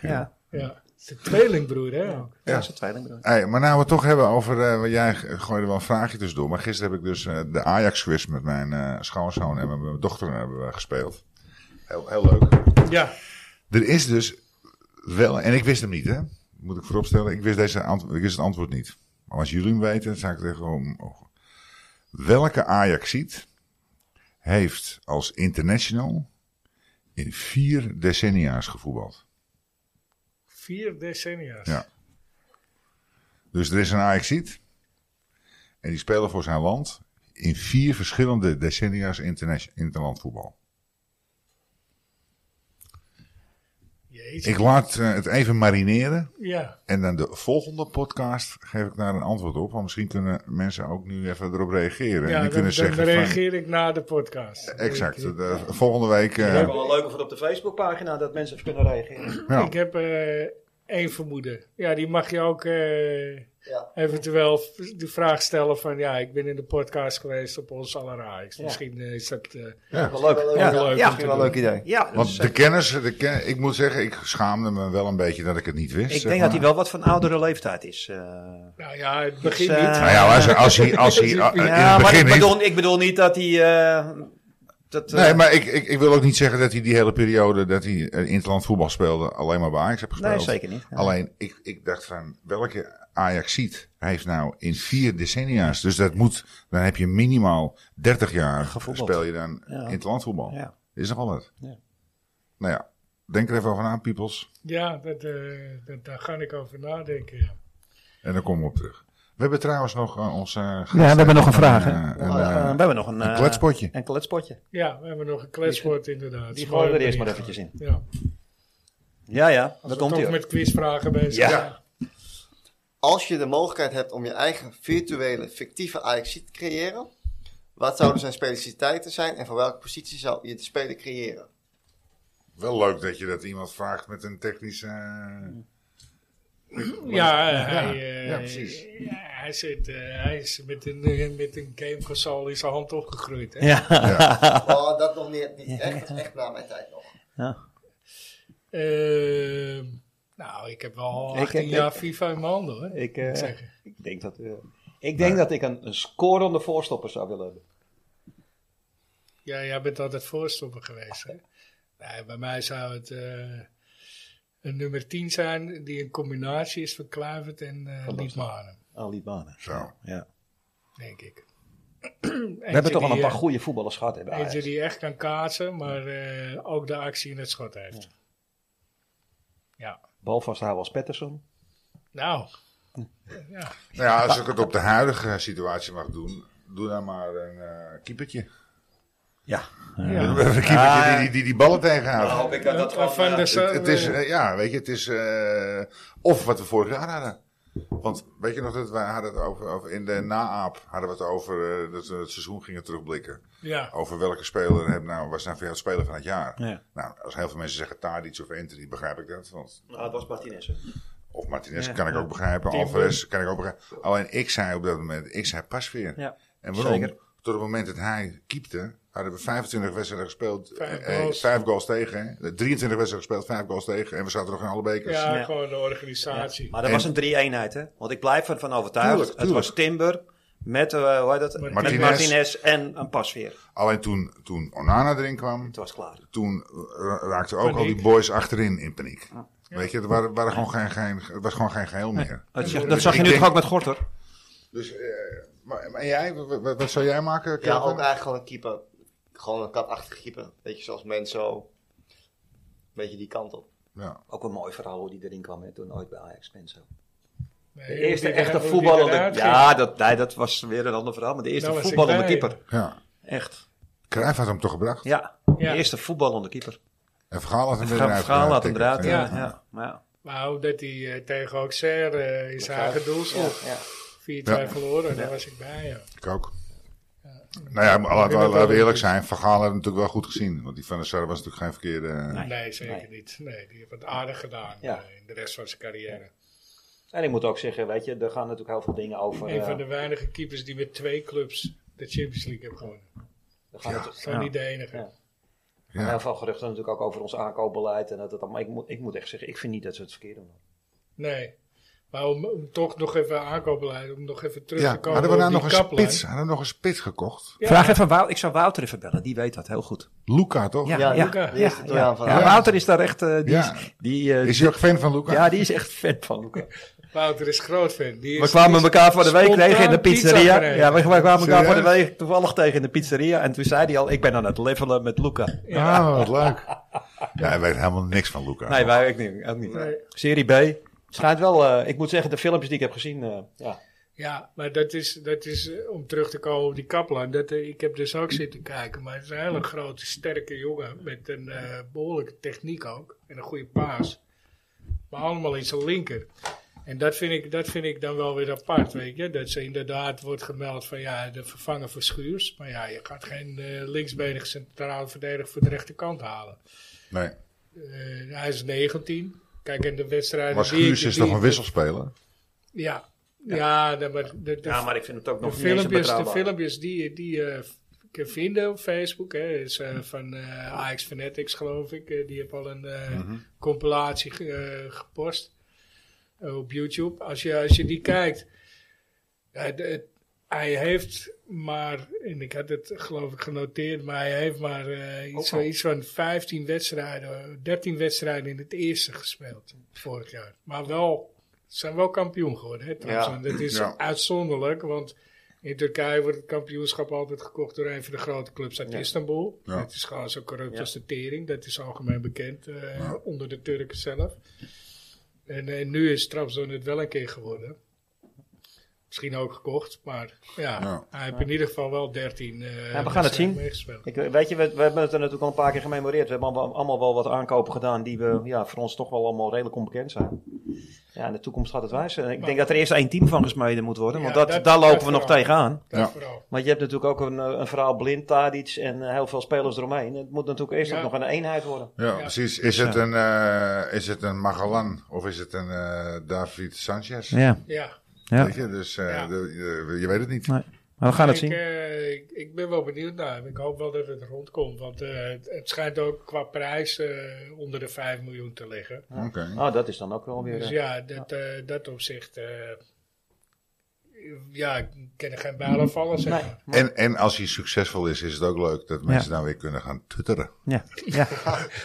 S1: Ja, zijn tweelingbroer, hè? ook.
S2: ja. dat is een tweeling bedoel ik.
S3: Hey, maar nou we het toch hebben over, eh, wat jij g- gooide wel een vraagje tussendoor. Maar gisteren heb ik dus eh, de Ajax-quiz met mijn eh, schoonzoon en met mijn dochter hebben we gespeeld. Heel, heel leuk.
S1: Ja,
S3: Er is dus wel, en ik wist hem niet, hè? Moet ik vooropstellen, ik wist, deze antwo- ik wist het antwoord niet. Maar als jullie hem weten, zou ik tegen hem. oh. Welke Ajaxiet heeft als international in vier decennia's gevoetbald?
S1: vier decennia's.
S3: Ja. Dus er is een Ajaxiet en die spelen voor zijn land in vier verschillende decennia's interna- interland voetbal.
S1: Jezus.
S3: Ik laat eh, het even marineren.
S1: Ja,
S3: En dan de volgende podcast geef ik daar een antwoord op. Want misschien kunnen mensen ook nu even erop reageren. en
S1: ja dan,
S3: die kunnen
S1: dan
S3: zeggen van-
S1: reageer ik na de podcast.
S3: Exact. eh,
S1: Ik,
S3: de- volgende week... eh,
S2: Ja.
S3: ja.
S2: wel een leuke voor op de Facebookpagina dat mensen even kunnen reageren.
S1: ik heb eh, één vermoeden. Ja, die mag je ook eh,
S5: Ja.
S1: eventueel v- de vraag stellen van... Ja, ik ben in de podcast geweest op ons allerhaags. Misschien eh, is dat... eh,
S3: Ja.
S2: Wel leuk.
S5: Ja,
S1: leuk.
S5: ja, misschien wel een leuk idee.
S2: Ja,
S3: Want de kennis... De ken- ik moet zeggen, ik schaamde me wel een beetje dat ik het niet wist.
S2: ik
S3: zeg
S2: denk dat hij
S3: maar.
S2: wel wat van oudere leeftijd is. eh.
S1: nou ja, het begint
S2: Dus, eh,
S1: niet.
S3: Nou ja, als, als hij... Als hij eh, in
S2: Ja,
S3: het
S2: maar
S3: begin
S2: ik
S3: niet...
S2: bedoel, ik bedoel niet dat hij. eh, dat, eh,
S3: Nee, maar ik, ik, ik wil ook niet zeggen dat hij die hele periode dat hij eh, interland voetbal speelde alleen maar bij Ajax heeft gespeeld.
S2: nee, zeker niet. Ja.
S3: Alleen, ik, ik dacht van, welke Ajaxiet heeft nou in vier decennia's, dus dat moet, dan heb je minimaal 30 jaar
S2: Gevoetbald.
S3: speel je dan
S2: Ja.
S3: in het landvoetbal.
S2: Ja.
S3: Is nogal wat.
S2: Ja.
S3: Nou ja, Denk er even over na, peoples.
S1: Ja, dat, eh, dat, daar ga ik over nadenken. Ja.
S3: En dan komen we op terug. We hebben trouwens nog eh, onze... Ja,
S2: we hebben nog een vraag, hè?
S3: Een,
S2: Eh, we
S3: eh,
S2: hebben nog een,
S3: een
S2: eh,
S3: kletspotje.
S2: Een kletspotje.
S1: ja, we hebben nog een kletswoord inderdaad.
S2: Die gooien we er eerst maar eventjes in.
S1: Ja,
S2: Ja, ja,
S1: als
S2: dat
S1: we
S2: komt
S1: toch
S2: hier.
S1: met quizvragen bezig
S2: Ja.
S1: zijn.
S5: Als je de mogelijkheid hebt om je eigen virtuele, fictieve Ajax te creëren, wat zouden zijn specialiteiten zijn en voor welke positie zou je de speler creëren?
S3: Wel leuk dat je dat iemand vraagt met een technische...
S1: Ja, hij,
S3: ja,
S1: eh,
S3: ja, precies.
S1: ja, hij, zit, eh, hij is met een, eh, met een gameconsole in zijn hand opgegroeid. Hè?
S2: Ja.
S5: Oh, dat nog niet, niet echt, dat is echt na mijn tijd nog.
S1: Ehm, nou, ik heb wel
S2: Ik-
S1: 18
S2: ik-
S1: jaar FIFA in mijn handen hoor.
S2: Ik,
S1: moet ik
S2: eh,
S1: zeggen.
S2: ik denk dat, eh, ik, denk dat ik een, een scorende voorstopper zou willen hebben.
S1: Ja, jij bent altijd voorstopper geweest hè? Nee, bij mij zou het eh, een nummer 10 zijn die een combinatie is van Kluivert en eh
S2: Van Basten.
S1: Liedmanen,
S2: Ali Bane.
S3: Zo.
S2: Ja.
S1: denk ik. eh,
S2: We hebben toch wel een paar goede voetballers gehad. Hebben
S1: Eentje
S2: Ajax.
S1: die echt kan kaatsen, maar eh, ook de actie in het schot heeft. ja.
S2: Bal vasthouden als Pettersson.
S1: Nou,
S3: Nou ja, als ik het op de huidige situatie mag doen, doe dan maar een eh, keepertje.
S2: Ja.
S1: Ja.
S3: Een keepertje
S2: Ah.
S3: die, die die ballen tegenhoudt.
S5: ik
S1: Ja, van de
S3: Het, het is, eh, ja, weet je, het is. eh, of wat we vorig jaar hadden. Want weet je nog dat wij hadden het over, over in de naaap hadden we het over eh, dat we het seizoen gingen terugblikken.
S1: ja.
S3: Over welke speler heb nou, was nou voor jou de speler van het jaar?
S2: Ja.
S3: Nou, als heel veel mensen zeggen Tadic of Anthony, begrijp ik dat. Want,
S8: Nou, het was Martinez. hè.
S3: of Martinez
S2: Ja.
S3: kan ik ook begrijpen,
S1: Timber.
S3: Alvarez kan ik ook begrijpen. Alleen ik zei op dat moment, ik zei pas weer.
S2: Ja.
S3: En waarom?
S2: Zeker.
S3: Tot het moment dat hij keepte, hadden we 25 wedstrijden gespeeld,
S1: Vijf
S3: eh, eh,
S1: goals.
S3: vijf goals tegen. hè. 23 wedstrijden gespeeld, vijf goals tegen. En we zaten nog in alle bekers.
S1: Ja,
S2: Ja.
S1: gewoon de organisatie.
S2: Maar dat
S3: En-
S2: was een drie-eenheid, hè? Want ik blijf ervan overtuigd.
S3: Tuurlijk,
S2: Het
S3: tuurlijk.
S2: was Timber met eh, hoe heet dat?
S1: Martinez.
S2: Met Martinez en een pasveer.
S3: Alleen toen, toen Onana erin kwam,
S2: Het was klaar.
S3: toen ra- raakten ook al die
S1: Paniek.
S3: boys achterin in paniek. Weet je, er waren, waren gewoon geen, geen, het was gewoon geen geheel meer.
S2: Dat,
S1: zag-
S3: dat zag je nu toch ook
S2: met Gorter?
S3: Dus, eh, maar, maar jij, wa- wa- wat, zou jij maken?
S5: Ja,
S3: Kelvin?
S5: ook eigenlijk gewoon een keeper. Gewoon een katachtige keeper. Weet je, zoals Menso. Een beetje die kant op.
S3: Ja.
S2: Ook een mooi verhaal hoe die erin kwam hè, toen ooit bij Ajax Menso.
S1: Nee,
S2: De
S1: hoe
S2: eerste
S1: die
S2: echte
S1: er- hoe die
S2: voetballer.
S1: eruit
S2: Ja, dat, nee, dat was weer een ander verhaal. Maar de eerste
S1: Dat was ik
S2: voetballende
S1: bij.
S2: keeper.
S3: ja.
S2: Echt.
S3: Cruijff had hem toch gebracht?
S2: Ja,
S1: Ja.
S2: de eerste voetballende keeper.
S3: En Vergaal had hem weer
S2: Gaan
S3: eruit
S2: verhaal had
S3: getikt.
S2: inderdaad. Ja,
S1: Ja.
S2: ja. Maar ja.
S1: ging. Maar ook dat hij eh, tegen Auxerre eh, in zijn eigen doel stond. 4-2
S3: Ja.
S1: verloren, daar was ik bij. Ja.
S3: Ik ook. Nou ja, maar laten we- laten we eerlijk zijn. Vergaal had het natuurlijk wel goed gezien. Want die Van der Sar was natuurlijk geen verkeerde...
S1: Nee, zeker niet. Nee, die heeft het aardig gedaan
S2: Ja.
S1: eh, in de rest van zijn carrière.
S2: En ik moet ook zeggen, weet je, er gaan natuurlijk heel veel dingen over.
S1: Een
S2: eh,
S1: van de weinige keepers die met twee clubs de Champions League heeft gewonnen.
S2: er gaan natuurlijk-
S1: Zo
S2: ja.
S1: niet de enige.
S2: Ja.
S3: Ja.
S2: Heel veel geruchten natuurlijk ook over ons aankoopbeleid. En dat het allemaal, ik, moet, ik moet echt zeggen, ik vind niet dat ze het verkeerd doen.
S1: Nee. Maar om, om toch nog even aankoopbeleid, om nog even terug
S3: Ja,
S1: te komen
S3: hadden we
S1: op
S3: nou
S1: die
S3: nog een
S1: kaplijn.
S3: spits, hadden we nog een spits gekocht?
S1: Ja.
S2: Vraag even Wouter. Ik zou Wouter even bellen, die weet dat heel goed.
S3: Luca, toch?
S5: Ja,
S2: ja,
S1: Luca.
S5: De eerste Italiaan van Ajax.
S2: Wouter is daar echt. eh, die
S3: Ja.
S2: is, die, eh,
S3: Is hij ook fan van Ah, Luca?
S2: ja, die is echt fan van Luca.
S1: Wouter is groot fan. Die is,
S2: We kwamen
S1: die is
S2: elkaar voor de week
S1: spontaan
S2: tegen in de
S1: pizza
S2: pizzeria.
S1: gaan eten.
S2: Ja, we, we kwamen elkaar voor de
S3: Serieus?
S2: week toevallig tegen in de pizzeria. En toen zei hij al: Ik ben aan het levelen met Luca.
S3: Ah, wat leuk. Ja, hij weet helemaal niks van Luca.
S2: Nee, wij ook niet. Ook niet.
S1: Nee.
S2: Serie B. Het schijnt wel, eh, ik moet zeggen, de filmpjes die ik heb gezien. eh, ja.
S1: Ja, maar dat is, dat is eh, om terug te komen op die Kaplan. Dat, eh, ik heb dus ook zitten kijken, maar het is een hele grote, sterke jongen. Met een eh, behoorlijke techniek ook. En een goede paas. Maar allemaal in zijn linker. En dat vind, ik, dat vind ik dan wel weer apart, weet je. Dat ze inderdaad wordt gemeld van ja, de vervanger voor Schuurs. Maar ja, je gaat geen eh, linksbenig centraal verdediger voor de rechterkant halen.
S3: Nee.
S1: Eh, hij is 19. Kijk, in de wedstrijden...
S3: Maar
S1: die ik-
S3: Schuurs is
S1: die
S3: toch een
S1: ik-
S3: wisselspeler?
S1: Ja. Ja, nee, maar de, de,
S2: ja, maar ik vind het ook
S1: de
S2: nog niet eens een
S1: filmpjes, de
S2: betrouwbaar.
S1: filmpjes die, die je kan vinden op Facebook, hè, is eh, van eh AX Fanatics geloof ik. Eh, die heb al een eh,
S2: Mhm.
S1: compilatie ge- eh, gepost eh, op YouTube. Als je, als je die kijkt, ja, de- het- hij heeft maar, en ik had het geloof ik genoteerd, maar hij heeft maar eh, iets, van, iets van 15 wedstrijden, 13 wedstrijden in het eerste gespeeld vorig jaar. Maar wel, zijn wel kampioen geworden. Hè, trouwens.
S5: Ja.
S1: En Dat is
S3: Ja.
S1: uitzonderlijk, want In Turkije wordt het kampioenschap altijd gekocht door een van de grote clubs uit
S9: Ja.
S1: Istanbul.
S3: Ja.
S1: Dat is gewoon zo corrupt
S9: Ja.
S1: als de tering. Dat is algemeen bekend eh,
S3: Ja.
S1: onder de Turken zelf. En, eh, nu is Trabzon het wel een keer geworden. Misschien ook gekocht, maar ja,
S3: Ja.
S1: hij heeft in ieder geval wel 13 eh
S2: Ja, we gaan het zien.
S1: meegespeeld.
S2: Ik, weet je, we, we hebben het er natuurlijk al een paar keer gememoreerd. We hebben allemaal, allemaal wel wat aankopen gedaan die we, ja, voor ons toch wel allemaal redelijk onbekend zijn. Ja, in de toekomst gaat het wijzen. En Ik denk dat er eerst één team van gesmeden moet worden, want
S1: Ja,
S2: dat,
S1: dat-
S2: daar lopen
S1: dat
S2: we nog
S1: vooral.
S2: tegenaan.
S1: Dat
S3: Ja.
S1: vooral.
S2: Want je hebt natuurlijk ook een, eh, een verhaal blind, Tadic en eh, heel veel spelers eromheen. Het moet natuurlijk eerst
S1: Ja.
S2: ook nog een eenheid worden.
S3: Ja, precies. Is het, een, eh, is het een Magellan of is het een eh, David Sanchez?
S2: Ja,
S1: Ja,
S2: Ja.
S3: Weet je, dus eh,
S1: Ja.
S3: de- je- je weet het niet.
S2: we gaan
S1: ik, eh, ik, ik ben wel benieuwd naar hem. Ik hoop wel dat het rondkomt. Want eh, het, het schijnt ook qua prijs eh, onder de 5 miljoen te liggen.
S3: Oké.
S2: Oh, dat is dan ook wel weer...
S1: Dus
S2: eh,
S1: ja, dat, eh dat opzicht. eh, ja, ik ken er geen bij aan vallen. Zeg maar.
S3: En, en als hij succesvol is, is het ook leuk dat mensen dan weer kunnen gaan tutteren.
S2: Ja,
S1: <laughs>
S2: ja.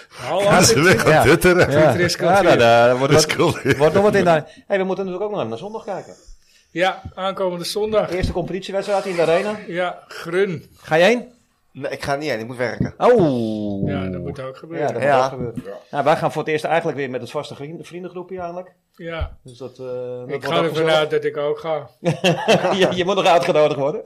S1: Hallo,
S3: Gaan ze weer gaan
S2: Ja.
S3: tutteren?
S2: ja.
S1: er is
S2: ja, nou, daar, daar wordt,
S3: Dat
S2: wat-
S3: is cool.
S2: <laughs> wordt nog wat in. daar. Hey, we moeten natuurlijk ook nog naar zondag kijken.
S1: Ja, aankomende zondag.
S2: Eerste competitiewedstrijd in de arena.
S1: Ja, Grun.
S2: Ga je heen?
S5: Nee, ik ga niet heen, ik moet werken.
S2: Oh.
S1: Ja, dat moet ook
S2: Ja, dat
S1: gebeuren.
S2: moet
S5: Ja.
S2: ook gebeuren. Nou, wij gaan voor het eerst eigenlijk weer met het vaste vrienden- vriendengroepje eigenlijk.
S1: Ja.
S2: Dus dat, eh, dat
S1: Ik
S2: wordt
S1: ga
S2: ook
S1: ervan
S2: gezellig.
S1: uit dat ik ook ga.
S2: <laughs> je, je moet nog uitgenodigd worden.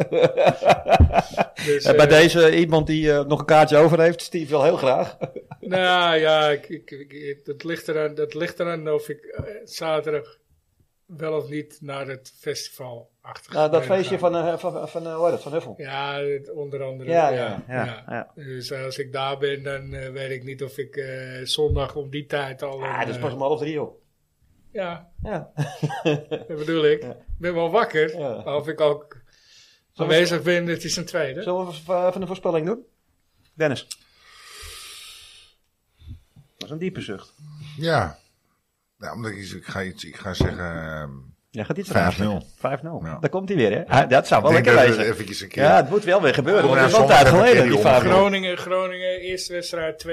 S1: Dus,
S2: En Eh, bij
S1: eh,
S2: deze iemand die eh, nog een kaartje over heeft, Steve wil heel graag.
S1: Nou ja, ik, ik, ik- dat, ligt eraan, dat ligt eraan of ik eh, zaterdag wel of niet naar het festival achter.
S2: <laughs> Nou, dat feestje van, eh, van, van, eh, hoe heet dat, van Huffel.
S1: Ja, het- onder andere.
S2: Ja,
S1: Ja,
S2: ja, ja,
S1: ja.
S2: ja.
S1: Dus als ik daar ben, dan eh, weet ik niet of ik eh, zondag om die tijd al.
S2: Ah,
S1: een,
S2: dat is
S1: eh,
S2: pas om half drie, joh.
S1: ja,
S2: Ja.
S1: dat bedoel ik. Ik ben wel wakker,
S2: Ja.
S1: maar of ik ook
S2: Zullen we-
S1: aanwezig ben, het is een tweede.
S2: Zullen we v- even een voorspelling doen? Dennis. Dat is een diepe zucht.
S3: Ja. Nou, omdat ik, ik, ga, iets, ik ga zeggen ehm,
S2: Ja, gaat iets
S3: 5-0.
S2: 5-0.
S3: Ja.
S2: Daar komt hij weer, hè? Ah, dat zou wel
S3: Ik denk
S2: lekker
S3: dat we
S2: wezen.
S3: eventjes een keer...
S2: Ja, het moet wel weer gebeuren.
S3: Kom
S2: want Het is
S3: maar,
S2: al een tijd
S3: sommige
S2: geleden,
S3: kennen
S2: die
S3: die
S2: 5
S1: Groningen, Groningen, eerste wedstrijd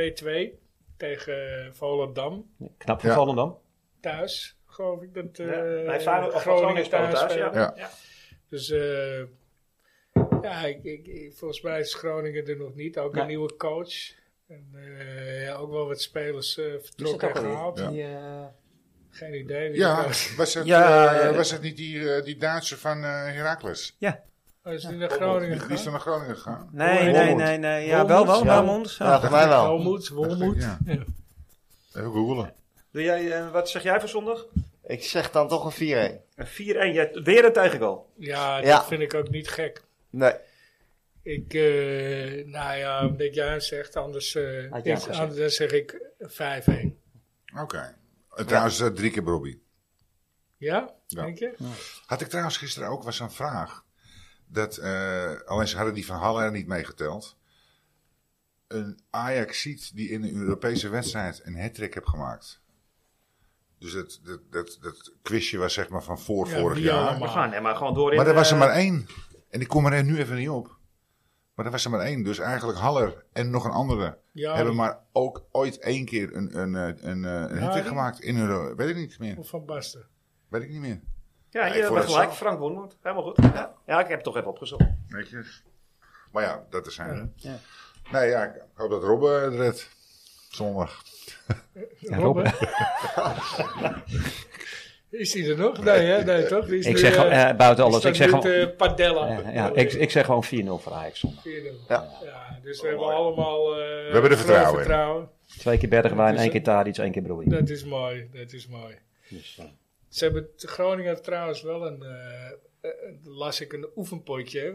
S1: 2-2 tegen eh, Volendam.
S2: Knap van
S3: Ja.
S2: Volendam.
S1: thuis, geloof ik. Dat, eh
S2: bij Feyenoord- of Groningen speelt thuis,
S1: spelen.
S3: ja.
S1: Dus eh, ja, ik, ik, ik- volgens mij is Groningen er nog niet. Ook
S2: Nee.
S1: een nieuwe coach. En, eh, ja, ook wel wat spelers eh,
S2: Is dat
S1: vertrokken en
S2: ook alweer?
S1: gehaald.
S3: Ja.
S2: Die, eh,
S1: Geen idee. wie
S3: Ja,
S1: dat is.
S3: was het,
S2: Ja, ja, ja.
S3: eh, was het niet die, eh, die Duitse van eh Heracles?
S1: Oh, is die naar Groningen
S3: Die
S1: gegaan?
S3: is dan naar Groningen gegaan.
S2: Nee,
S1: Wolmond.
S2: nee, nee, nee. Ja,
S1: Wolmond,
S2: wel, wel,
S1: ja.
S2: Ramond.
S5: Ja, voor mij wel.
S1: Wolmoed, Wolmoed.
S3: Ja.
S1: Ja.
S3: Even googelen.
S2: Doe jij, eh, wat zeg jij voor zondag?
S5: Ik zeg dan toch een 4-1.
S2: Een 4-1. Jij- Weer een tegengoal.
S1: Ja,
S5: Ja.
S1: dat vind ik ook niet gek.
S5: Nee,
S1: Ik, eh, nou ja, omdat jij het zegt, anders, eh,
S2: Had jij
S1: ik,
S2: gezegd.
S1: anders zeg ik 5-1.
S3: Oké. Eh, Trouwens, eh, drie keer Bobby.
S1: Ja?
S3: Ja.
S1: Denk je?
S3: Had ik trouwens gisteren ook was een vraag. Dat, eh, alleen ze hadden die van Haller niet meegeteld. Een Ajaxiet die in een Europese wedstrijd een hat-trick heeft gemaakt. Dus dat, dat, dat, dat quizje was zeg maar van voor
S1: Ja,
S3: vorig
S1: die
S3: jaar.
S1: allemaal.
S2: We gaan nee, maar gewoon door in...
S3: Maar er was er
S2: eh,
S3: maar één. En ik kom er nu even niet op. Maar er was er maar één. Dus eigenlijk Haller en nog een andere
S1: Ja,
S3: hebben maar ook ooit één keer een, een, eh, een, eh, een, hat-trick
S1: die-
S3: gemaakt in Euro. Weet ik niet meer.
S1: Of van Basten?
S3: Weet ik niet meer.
S2: Ja,
S3: Nee,
S2: je
S3: voor
S2: bent
S3: dat
S2: gelijk.
S3: zo.
S2: Frank Woonmoed. Helemaal goed. Ja. ja, ik heb het toch even opgezocht.
S3: Weet je. Maar ja, dat is zijn. hè?
S2: Ja.
S3: Nee, ja, ik hoop dat Robbe het redt. Zondag.
S1: Robben? <laughs> is hij er nog? Nee, hè? nee toch? Die is
S2: Ik
S1: nu,
S2: zeg
S1: eh,
S2: eh, buiten
S1: is
S2: alles.
S1: dan
S2: Ik zeg
S1: dit,
S2: gewoon...
S1: eh, Padella.
S2: ja, ja, ik, ik zeg gewoon 4-0 voor Ajax zondag.
S1: Ja. ja, dus we hebben allemaal... eh,
S3: hebben er
S1: groot
S3: vertrouwen in.
S2: Twee keer Bergwijn,
S1: Dus,
S2: één
S1: eh,
S2: keer Tadic, één keer Broei.
S1: Dat is mooi, dat is mooi. Ze hebben, Groningen heeft trouwens wel een... eh, eh, las ik een oefenpotje hè,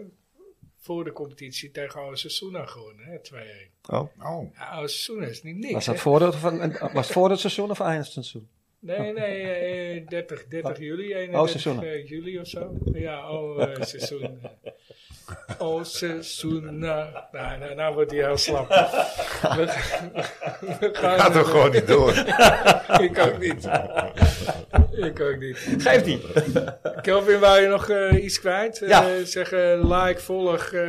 S1: voor de competitie tegen Osasuna gewonnen, hè, 2-1.
S3: Oh,
S1: Ja, Osasuna is niet niks,
S2: Was dat
S1: hè.
S2: voor het, van, eh, was het voor het seizoen of eind het seizoen?
S1: Nee, nee, eh, 30, 30 juli, 31
S2: Oh, seizoenen.
S1: eh, juli of zo. Ja, oh, eh, seizoen. Oh, seizoen. Nou, nou, nou, nou wordt hij heel slap. We, we gaan,
S3: gaat er gewoon niet door.
S1: <laughs> Ik ook niet. Ik ook niet.
S2: Geeft niet.
S1: Kelvin, wou je nog eh, iets kwijt? Eh,
S2: Ja.
S1: zeg eh, like, volg. eh,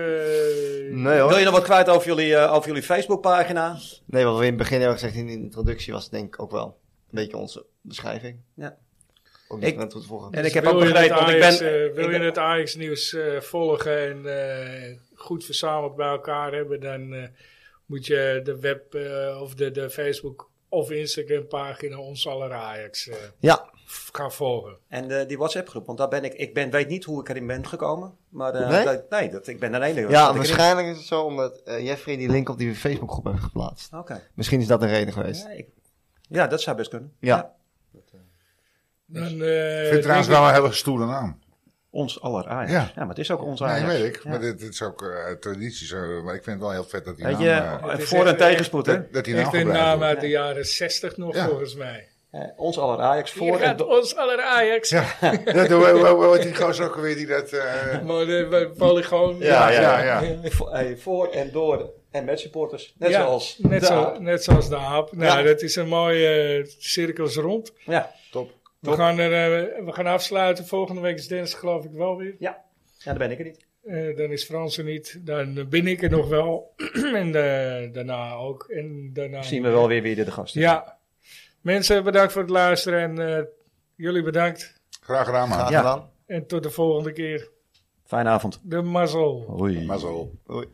S5: nee hoor.
S2: Wil je nog wat kwijt over jullie, eh, over jullie Facebookpagina?
S5: Nee, wat we in het begin hebben gezegd in de introductie was het denk ik ook wel een beetje onze beschrijving. Om niet
S2: Ik-
S5: naartoe te voegen.
S2: En
S1: Dus
S2: ik heb
S1: wil
S2: ook
S1: je het
S2: begrepen, want ik
S1: Ajax,
S2: ben-
S1: eh, wil
S2: ik
S1: je
S2: ben-
S1: het Ajax-nieuws eh, volgen en eh, goed verzameld bij elkaar hebben, dan eh, moet je de web eh, of de, de Facebook of Instagram pagina Ons Aller Ajax eh,
S2: Ja,
S1: f- gaan volgen.
S2: en eh, die WhatsApp-groep, want daar ben ik, ik ben, weet niet hoe ik erin ben gekomen. Maar eh,
S5: Nee?
S2: dat, nee dat, ik ben er enige.
S5: Ja,
S2: dat ik erin-
S5: waarschijnlijk is het zo omdat eh, Jeffrey die link op die Facebookgroep heeft geplaatst.
S2: Oké.
S5: Misschien is dat een reden geweest.
S2: Ja, ik- Ja, dat zou best kunnen.
S5: Ja.
S1: Dan, eh,
S3: Ik vind het trouwens wel een hele stoere naam.
S2: Ons aller Ajax.
S3: Ja.
S2: Ja. maar het is ook ons
S3: Nee,
S2: Ajax.
S3: weet ik.
S2: Ja.
S3: Maar dit, dit is ook eh, uit traditie. Zo, maar ik vind het wel heel vet dat die
S2: Weet
S3: naam...
S2: je,
S3: eh,
S1: Het is
S2: voor- en
S1: echt, eh,
S2: tegenspoed, hè?
S3: dat, dat die naam
S1: Echt een
S3: gebruikt
S1: naam
S3: wordt.
S1: uit de jaren 60 nog,
S3: Ja.
S1: volgens mij.
S2: Eh, ons aller Ajax
S1: Voor
S2: voor en
S1: gaat
S2: do-
S1: Ons Aller Ajax.
S3: Ja, dat, hoe, hoe, hoe heet die gozer ook alweer die dat... eh,
S1: Maar de- bij Polygoon.
S3: ja, ja, ja.
S2: Vo- eh, voor en door en met supporters. Net
S1: Ja,
S2: zoals.
S1: Net,
S2: de
S1: zo,
S2: aap.
S1: net zoals de aap. Nou,
S2: Ja.
S1: dat is een mooie eh, cirkels rond.
S2: Ja.
S3: Top.
S1: We gaan, er, eh, we gaan afsluiten. Volgende week is dinsdag geloof ik wel weer.
S2: ja. Ja, daar ben ik er niet.
S1: Eh, dan is Frans er niet. Dan ben ik er nog wel. <clears throat> en eh, daarna ook. En daarna
S2: Zien we wel weer wie er de gast is.
S1: Ja. Mensen, bedankt voor het luisteren. En eh, jullie bedankt.
S3: Graag gedaan, man.
S5: Graag
S2: Ja.
S5: gedaan.
S1: En tot de volgende keer.
S2: Fijne avond.
S1: De mazzel.
S2: Hoi.
S3: Mazzel.
S5: Doei.